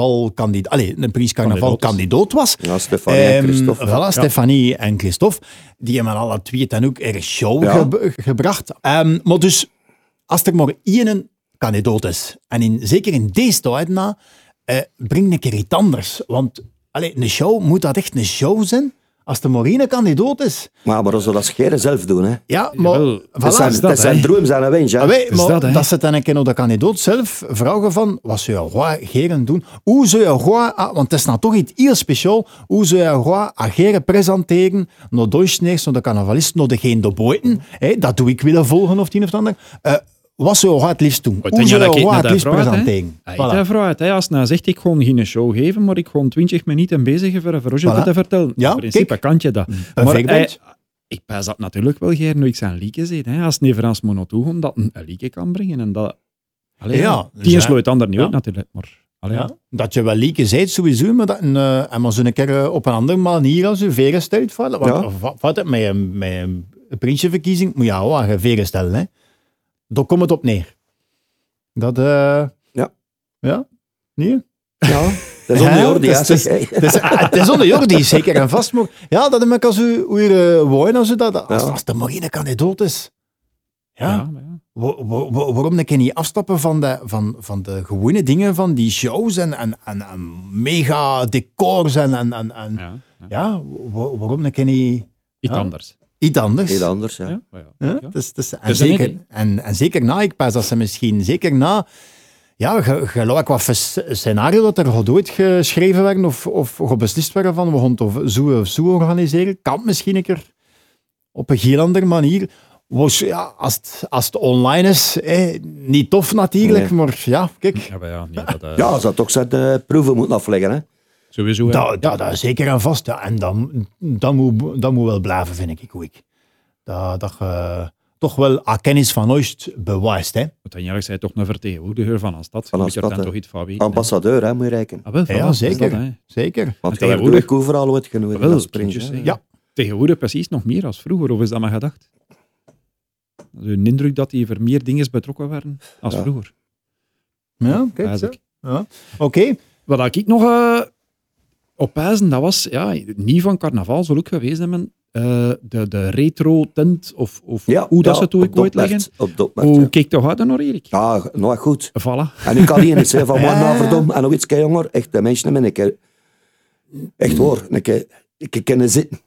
Speaker 3: carnavalkandidaat, allez, een prins carnavalkandidaat was.
Speaker 5: Ja, Stefanie en
Speaker 3: Ehm,
Speaker 5: Christophe,
Speaker 3: voilà,
Speaker 5: ja.
Speaker 3: Stefanie en Christophe. Die hebben alle twee dan ook erg show
Speaker 5: Ja.
Speaker 3: ge- gebracht. Ehm, maar dus, als er maar één kandidaat is, en in, zeker in deze tijd na, eh, breng een keer iets anders. Want allee, een show, moet dat echt een show zijn? Als de Morine kandidaat is.
Speaker 5: Maar, maar als we dat scheren zelf doen, hè.
Speaker 3: Ja, maar...
Speaker 4: Jawel.
Speaker 3: voilà.
Speaker 5: Dat zijn,
Speaker 4: is
Speaker 5: dat,
Speaker 4: dat,
Speaker 5: zijn
Speaker 4: hè.
Speaker 5: droom, zijn een wens, ja.
Speaker 3: Ah, wij,
Speaker 4: Is
Speaker 3: maar
Speaker 4: dat,
Speaker 3: dat,
Speaker 4: hè?
Speaker 3: ze dan een keer op de kandidaat zelf vragen van, wat zou je roi geren doen? Hoe zou je roi, ah, want het is nou toch iets heel speciaal, hoe zou je roi ageren presenteren naar Deutschneers, naar de carnavalisten, naar degene de buiten, hè, dat doe ik willen volgen of het een of het ander. Eh, wat zou je roi het liefst doen? Hoe zou je roi het liefst presenteren? Voilà.
Speaker 4: Voilà. Vraag hè. Als hij nou zegt, ik gewoon geen show geven, maar ik gewoon 20 minuten bezig voor voor Roger
Speaker 3: Voilà.
Speaker 4: te vertellen.
Speaker 3: Ja,
Speaker 4: In principe
Speaker 3: kijk.
Speaker 4: kan je dat.
Speaker 3: Een
Speaker 4: maar
Speaker 3: veekband.
Speaker 4: hij- ik pas dat natuurlijk wel, Geer, nu ik zijn lieken zie. Hè. Als Neverans Monotoe komt, dat een een lieke kan brengen. En dat... Allee,
Speaker 3: Ja,
Speaker 4: ja,
Speaker 3: dus
Speaker 4: die
Speaker 3: ja.
Speaker 4: sluit ander niet
Speaker 3: Ja.
Speaker 4: uit, natuurlijk. Maar, allee,
Speaker 3: Ja. Dat je wel lieke zijt sowieso, maar dat een, eh, en maar zo'n keer eh, op een andere manier als je veren stelt. Voilà. Want
Speaker 5: Ja.
Speaker 3: wa- wat het met een, met een prinsjeverkiezing moet je al aan je veren stellen. Hè. Daar komt het op neer. Dat, eh,
Speaker 5: Ja.
Speaker 3: Ja? Nee?
Speaker 5: Ja, dat is
Speaker 3: Ja,
Speaker 5: ondeorde, ja.
Speaker 3: dat is-
Speaker 5: zeg, hè.
Speaker 3: Het is, ah, het is onder Jordi, zeker en vast. Maar, ja, dat heb ik als u, hoe je eh, woont, als, u dat, als,
Speaker 5: Ja.
Speaker 3: als de marine kandidaat is.
Speaker 4: ja,
Speaker 3: ja.
Speaker 4: maar ja.
Speaker 3: Wa- wa- wa- waarom een keer niet afstappen van de, van, van de gewone dingen, van die shows en, en, en, en mega decors en... en, en, en- ja,
Speaker 4: Ja, ja.
Speaker 3: wa- waarom een keer niet
Speaker 4: Iets
Speaker 3: Ja.
Speaker 4: anders.
Speaker 3: iets anders?
Speaker 5: Heel anders, ja.
Speaker 4: Ja, maar ja.
Speaker 3: Hè?
Speaker 4: Ja.
Speaker 3: Dus- dus- en,
Speaker 4: Dus dan
Speaker 3: zeker,
Speaker 4: niet,
Speaker 3: en, en zeker na, ik pas dat ze misschien, zeker na... Ja, ge- geloof ik wat voor sc- scenario dat er ooit geschreven werden of, of beslist werden van we gaan het of zo of zo organiseren, kan het misschien een keer op een heel andere manier. Was, ja, als, het, als het online is, hè, niet tof natuurlijk,
Speaker 5: Nee.
Speaker 3: maar ja, kijk.
Speaker 4: Ja, maar ja, nee, dat, eh,
Speaker 5: Ja, ze had toch zijn eh, proeven moeten afleggen, hè.
Speaker 4: sowieso. hè.
Speaker 3: Dat, dat, dat is zeker en vast. Ja. En dat, dat, moet, dat moet wel blijven, vind ik. ik, ik. Dat, dat je toch wel aan kennis van ooit bewijst. Hè.
Speaker 4: Uiteindelijk zij toch een vertegenwoordiger van een stad.
Speaker 5: Van
Speaker 4: Je
Speaker 5: een
Speaker 4: moet er
Speaker 5: stad,
Speaker 4: dan
Speaker 5: hè.
Speaker 4: toch iets van weten.
Speaker 5: Ambassadeur, hè, moet je rekenen.
Speaker 4: Ah, wel,
Speaker 3: Ja,
Speaker 4: voilà, dat is
Speaker 3: zeker.
Speaker 4: dat, hè.
Speaker 3: Zeker.
Speaker 5: Want jij
Speaker 4: En tegenwoordig-
Speaker 5: doe ik overal wat genoeg
Speaker 4: Wel,
Speaker 5: als prins.
Speaker 4: kindjes,
Speaker 5: hè.
Speaker 4: hè.
Speaker 3: Ja.
Speaker 4: Tegenwoordig precies nog meer als vroeger, of is dat maar gedacht? Dat is een indruk dat die voor meer dingen betrokken waren als
Speaker 5: Ja.
Speaker 4: vroeger.
Speaker 3: Ja, kijk
Speaker 4: Pijs
Speaker 3: zo.
Speaker 4: ik.
Speaker 3: Ja. Oké.
Speaker 4: Wat ik nog eh, op pijzen, dat was, ja, niet van carnaval, zal ook geweest hebben, eh, de, de retro-tent, of, of
Speaker 5: Ja,
Speaker 4: hoe dat
Speaker 5: ja,
Speaker 4: ze het ook
Speaker 5: op
Speaker 4: ooit
Speaker 5: Dopmert,
Speaker 4: leggen.
Speaker 5: Op Dopmert,
Speaker 4: Hoe
Speaker 5: ja.
Speaker 4: keek toch uit dan nog, Erik?
Speaker 5: Ja, nou goed.
Speaker 4: Voilà.
Speaker 5: En ik kan niet eens hè, van
Speaker 3: Ja.
Speaker 5: waar naar verdom en nog iets jonger. Echt, de mensen hebben een keer... Echt hoor, een keer... Ik kan zitten.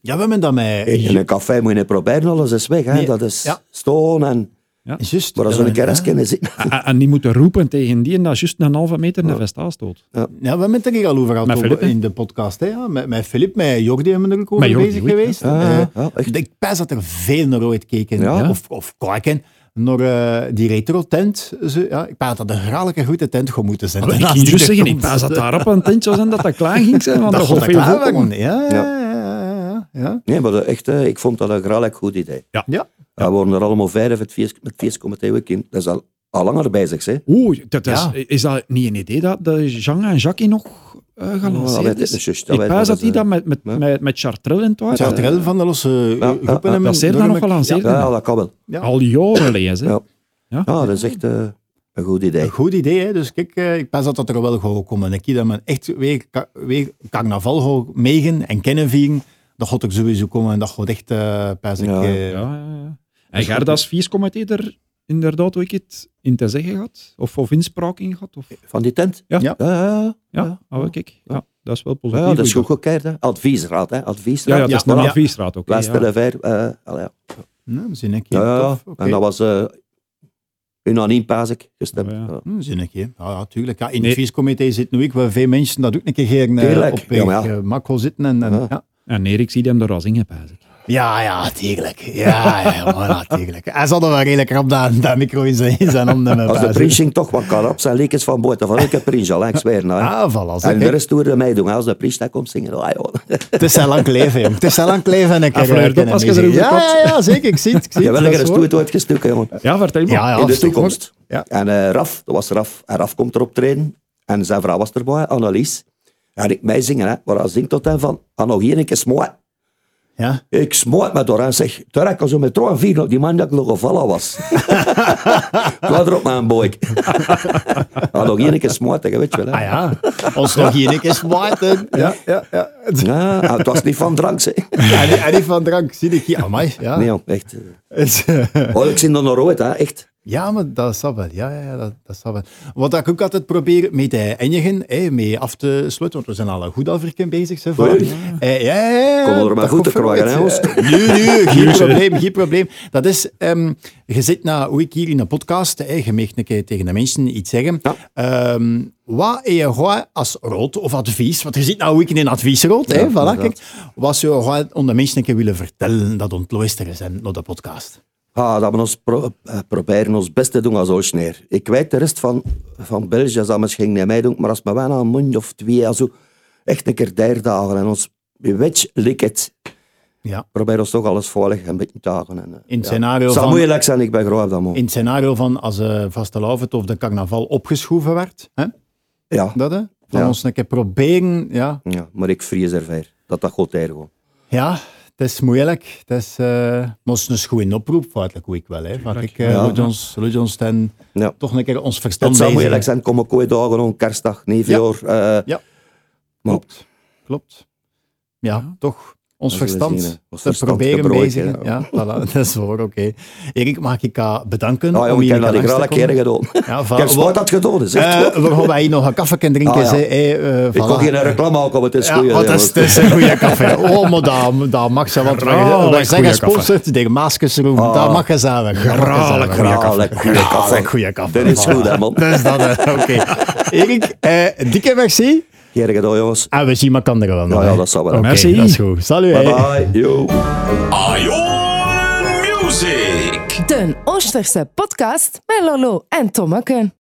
Speaker 3: Ja, we hebben dat met...
Speaker 5: In een café moet je niet proberen, alles is weg. Hè.
Speaker 3: Nee,
Speaker 5: Dat is
Speaker 3: ja.
Speaker 5: stoon en...
Speaker 3: Juist.
Speaker 5: Maar als we een keer eens kunnen zitten...
Speaker 4: En- en, en die moeten roepen tegen die en dat is juist een halve meter naar vest aanstoot.
Speaker 3: Ja, we hebben het er hier al over
Speaker 4: Met
Speaker 3: gehad op-
Speaker 4: Philippe.
Speaker 3: in de podcast. Hè, ja. met, met Filip, met Jordi hebben we er ook over
Speaker 4: Met Jordi
Speaker 3: bezig
Speaker 4: ook, ja.
Speaker 3: geweest.
Speaker 5: Ah,
Speaker 3: Eh,
Speaker 5: ja, echt.
Speaker 3: ik pijs dat er veel naar ooit keken.
Speaker 5: Ja.
Speaker 3: Of, of kijken naar eh, die retro-tent. Ze- Ja, ik pijs dat er een goede tent gewoon moeten zijn.
Speaker 4: Maar Ah, ik
Speaker 3: Als
Speaker 4: ging
Speaker 3: die
Speaker 5: <laughs>
Speaker 4: juist
Speaker 3: er
Speaker 4: zeggen, ik
Speaker 3: komt.
Speaker 4: pas dat daar op een tentje was en dat dat klaar ging zijn, want
Speaker 3: Eh, Dat
Speaker 4: dat
Speaker 3: gaat
Speaker 4: gaat
Speaker 3: er
Speaker 4: veel
Speaker 3: klaar
Speaker 4: voorkomen.
Speaker 3: worden. Ja, ja,
Speaker 5: Ja.
Speaker 3: ja, ja, ja.
Speaker 5: Nee, maar dat- echt, hè, ik vond dat een graag goed idee.
Speaker 3: Ja.
Speaker 5: Ja. We worden er allemaal vijf met het feest- met het feestcomité ook in. Dat is al, al langer bezig, hè.
Speaker 4: Oeh, dat is,
Speaker 3: Ja.
Speaker 4: is dat niet een idee dat de Jean en Jackie nog eh
Speaker 5: Ja,
Speaker 4: gelanceerd
Speaker 5: dat
Speaker 4: is?
Speaker 5: is juist, dat
Speaker 4: ik
Speaker 5: weet
Speaker 4: pas
Speaker 5: ik,
Speaker 4: dat
Speaker 5: dat
Speaker 4: die
Speaker 5: is,
Speaker 4: dat met, met,
Speaker 5: ja.
Speaker 4: met, met Chartrel en het
Speaker 3: Zou het er wel van de losse eh,
Speaker 5: ja,
Speaker 3: groepen
Speaker 5: ja,
Speaker 3: hebben?
Speaker 4: Dat zeer
Speaker 3: door
Speaker 4: dat nog
Speaker 3: elkaar-
Speaker 4: gelanceerd.
Speaker 5: Ja, ja, dat kan wel.
Speaker 3: Ja.
Speaker 4: Al jaren <laughs> lezen.
Speaker 5: Ja. Ja, dat is echt eh, een goed
Speaker 3: Een
Speaker 5: idee.
Speaker 3: goed idee, hè? dus kijk, eh, ik pas dat dat er wel gaat komen. Ik zie dat men echt weer, ka- weer carnaval gaat meegen en kennen vieren. Dat gaat er sowieso komen en dat gaat echt, eh pas ik...
Speaker 5: Ja,
Speaker 3: eh,
Speaker 4: Ja, ja, ja. En Gerda als viescomité er inderdaad ook iets in te zeggen gehad? Of, of inspraak in gehad? Of,
Speaker 5: Van die tent?
Speaker 4: Ja.
Speaker 5: Ja, ja, ja.
Speaker 4: ja, ah, wel, kijk. Ja, dat is wel
Speaker 5: Ja,
Speaker 4: positief.
Speaker 5: dat is goed gekeerd, hè. Adviesraad, hè.
Speaker 4: Ja,
Speaker 5: Adviesraad.
Speaker 4: ja, dat is
Speaker 3: Ja,
Speaker 4: een
Speaker 3: ja.
Speaker 4: adviesraad ook. hè,
Speaker 5: Wij
Speaker 4: Ja.
Speaker 5: spelen vijf, eh, allee, ja.
Speaker 3: nou, zin ik
Speaker 5: Ja, ja,
Speaker 3: tof.
Speaker 5: ja.
Speaker 3: Oké.
Speaker 5: En dat was eh unaniem, paas ik, gestemd.
Speaker 4: Ja, ja.
Speaker 3: Hm, zin ik, hè. ja, ja, tuurlijk. Ja, in
Speaker 4: Nee.
Speaker 3: het feestcomité zit nu ik, waar veel mensen dat ook een keer geen, eh,
Speaker 5: Tuurlijk.
Speaker 3: op
Speaker 5: Ja, maar ja.
Speaker 3: eh, mak gaan zitten. En, en,
Speaker 5: Ja.
Speaker 3: ja.
Speaker 4: En Erik ziet hem er als in
Speaker 3: Ja, ja, tuurlijk. Ja, ja, maar ja, tuurlijk. Hij zal er wel redelijk rap dat, dat micro in zijn, in zijn handen eh, hebben.
Speaker 5: Als de
Speaker 3: pas, hè.
Speaker 5: prinsing toch wat kan op zijn lekens van boord, van elke prins al, hè. ik zweer nou. hè.
Speaker 3: Ah, voilà. zeg,
Speaker 5: en de
Speaker 3: hè.
Speaker 5: rest doen meedoen. hè. Als de prins daar komt zingen, ah, joh.
Speaker 3: Het is zijn lang leven, jong. Het is zijn lang leven en ik
Speaker 4: Ah,
Speaker 3: heb
Speaker 4: Fleur, dat was je erover
Speaker 3: Ja,
Speaker 4: geklapt.
Speaker 3: ja, ja, zeker. Ik zie het. Ik zie
Speaker 5: Je
Speaker 3: het.
Speaker 5: wel
Speaker 3: Dat is
Speaker 5: een
Speaker 3: waar.
Speaker 5: stoet ooit gestoken, jongen.
Speaker 4: Ja, vertel maar.
Speaker 3: Ja, ja,
Speaker 5: in de
Speaker 3: absoluut.
Speaker 5: toekomst.
Speaker 3: Ja.
Speaker 5: En eh, Raf, dat was Raf. En Raf komt erop treden. En zijn vrouw was erbij, Annelies. En ik mij zingen, hè. Maar hij zingt tot hem van, ah, nog één keer smoot.
Speaker 3: Ja.
Speaker 5: Ik smoot me door en zeg, terwijl ik zo met trouw en vier op die man dat ik nog gevallen was. <laughs> Kwaad erop, mijn boy. <laughs> ah, nog één keer smoot, hè, weet je wel. Hè.
Speaker 3: Ah ja, ons nog hier niks is Maarten. Ja, ja, ja.
Speaker 5: Ja, en het was niet van drank, zeg.
Speaker 3: En die, en die van drank zie ik hier. Amai, ja.
Speaker 5: Nee, jong, echt.
Speaker 3: Het is, eh,
Speaker 5: Oh, ik zie dat nog ooit, hè, echt.
Speaker 3: Ja, maar dat zal wel. Ja, ja, ja, dat, dat zal wel. Wat ik ook altijd probeer mee te eindigen, hè, mee af te sluiten, want we zijn al een goed halverken bezig. Hè, voilà.
Speaker 5: Oei.
Speaker 3: Eh, ja, ja, ja, ja.
Speaker 5: Kom er maar
Speaker 3: Dat
Speaker 5: goed te
Speaker 3: komt wel
Speaker 5: krijgen, hè,
Speaker 3: goed.
Speaker 5: Oost.
Speaker 3: Eh, Nu, nu, geen probleem, geen probleem. Dat is, ehm, je zit na hoe ik hier in een podcast, hè, je mag een keer tegen de mensen iets zeggen.
Speaker 5: Ja.
Speaker 3: Ehm, wat is je goed als rood of advies? Want je zit nou week in een adviesrood, hè,
Speaker 5: Ja,
Speaker 3: voilà,
Speaker 5: inderdaad.
Speaker 3: kijk. Wat zou je goed om de mensen een keer willen vertellen dat ontluisteren zijn naar de podcast?
Speaker 5: Ah, dat we ons pro- eh, proberen ons best te doen als Oorsneer. Ik weet de rest van, van België, dat misschien niet mij doen, maar als we wel een mond of twee, als we echt een keer derde dagen en ons wetje liket,
Speaker 3: Ja.
Speaker 5: probeer ons toch alles veilig en beetje te houden. En, eh,
Speaker 3: In het
Speaker 5: ja.
Speaker 3: scenario
Speaker 5: Het zal
Speaker 3: van...
Speaker 5: moeilijk zijn, ik ben groot op dat moment.
Speaker 3: In het scenario van als eh vastelavond of de carnaval opgeschoven werd, hè?
Speaker 5: Ja,
Speaker 3: dat hè? Van
Speaker 5: Ja.
Speaker 3: ons een keer proberen, ja.
Speaker 5: ja, maar ik vrees er ver. Dat dat goed tegen gewoon.
Speaker 3: Ja, het is moeilijk. Het is, eh maar het is een goede oproep, feitelijk, hoe ik wel. Hè. Want ik, eh
Speaker 5: Ja.
Speaker 3: laat ons, laat ons dan
Speaker 5: Ja.
Speaker 3: toch een keer ons verstand
Speaker 5: Het zal
Speaker 3: bezig.
Speaker 5: moeilijk zijn, kom ik ooit dagen om kerstdag, nieuwjaar. eh,
Speaker 3: Ja.
Speaker 5: Maar-
Speaker 3: Klopt, klopt. Ja, toch. Ons
Speaker 5: Dat zullen we
Speaker 3: verstand
Speaker 5: zien, hè. Ons
Speaker 3: te
Speaker 5: verstand
Speaker 3: proberen
Speaker 5: gebrooid,
Speaker 3: bezig.
Speaker 5: hè.
Speaker 3: Ja, voilà, <laughs> dat is waar, oké. Erik, mag ik je bedanken
Speaker 5: Ah, ja,
Speaker 3: om
Speaker 5: ik
Speaker 3: hier
Speaker 5: heb dat
Speaker 3: langs
Speaker 5: ik
Speaker 3: te
Speaker 5: al een keer
Speaker 3: komen?
Speaker 5: gedaan.
Speaker 3: Ja,
Speaker 5: Ik heb
Speaker 3: voilà.
Speaker 5: spijt dat het gedaan is. echt
Speaker 3: Eh,
Speaker 5: waar.
Speaker 3: we gaan hier nog een koffie kunnen drinken.
Speaker 5: Ah, ja.
Speaker 3: hè. Eh, eh,
Speaker 5: Ik
Speaker 3: voilà.
Speaker 5: kon geen reclame maken, maar het is
Speaker 3: Ja,
Speaker 5: goed.
Speaker 3: want dat is, dat is een
Speaker 5: <laughs>
Speaker 3: goede café. Oh, maar dat, dat mag ze, want
Speaker 4: Graal,
Speaker 3: wij, wij
Speaker 4: goeie
Speaker 3: zijn
Speaker 4: café.
Speaker 3: gesponsord door Maaskesroom.
Speaker 5: Ah.
Speaker 3: dat mag gezellig.
Speaker 4: Graal,
Speaker 3: Graal, goede café.
Speaker 5: Dat is goed, hè, man.
Speaker 3: <laughs> Dat is dat, hè.
Speaker 5: <laughs>
Speaker 3: oké. Erik, eh, dikke merci.
Speaker 5: Geen gedaan, jongens.
Speaker 3: En we zien elkaar wel nog.
Speaker 5: Ja, ja,
Speaker 3: hè.
Speaker 5: dat zal wel.
Speaker 3: Oké,
Speaker 4: Merci.
Speaker 3: dat is goed. Salut. hè.
Speaker 5: Bye bye. Yo.
Speaker 1: Ion Music.
Speaker 2: De Oosterse podcast met Lolo en Tommeke.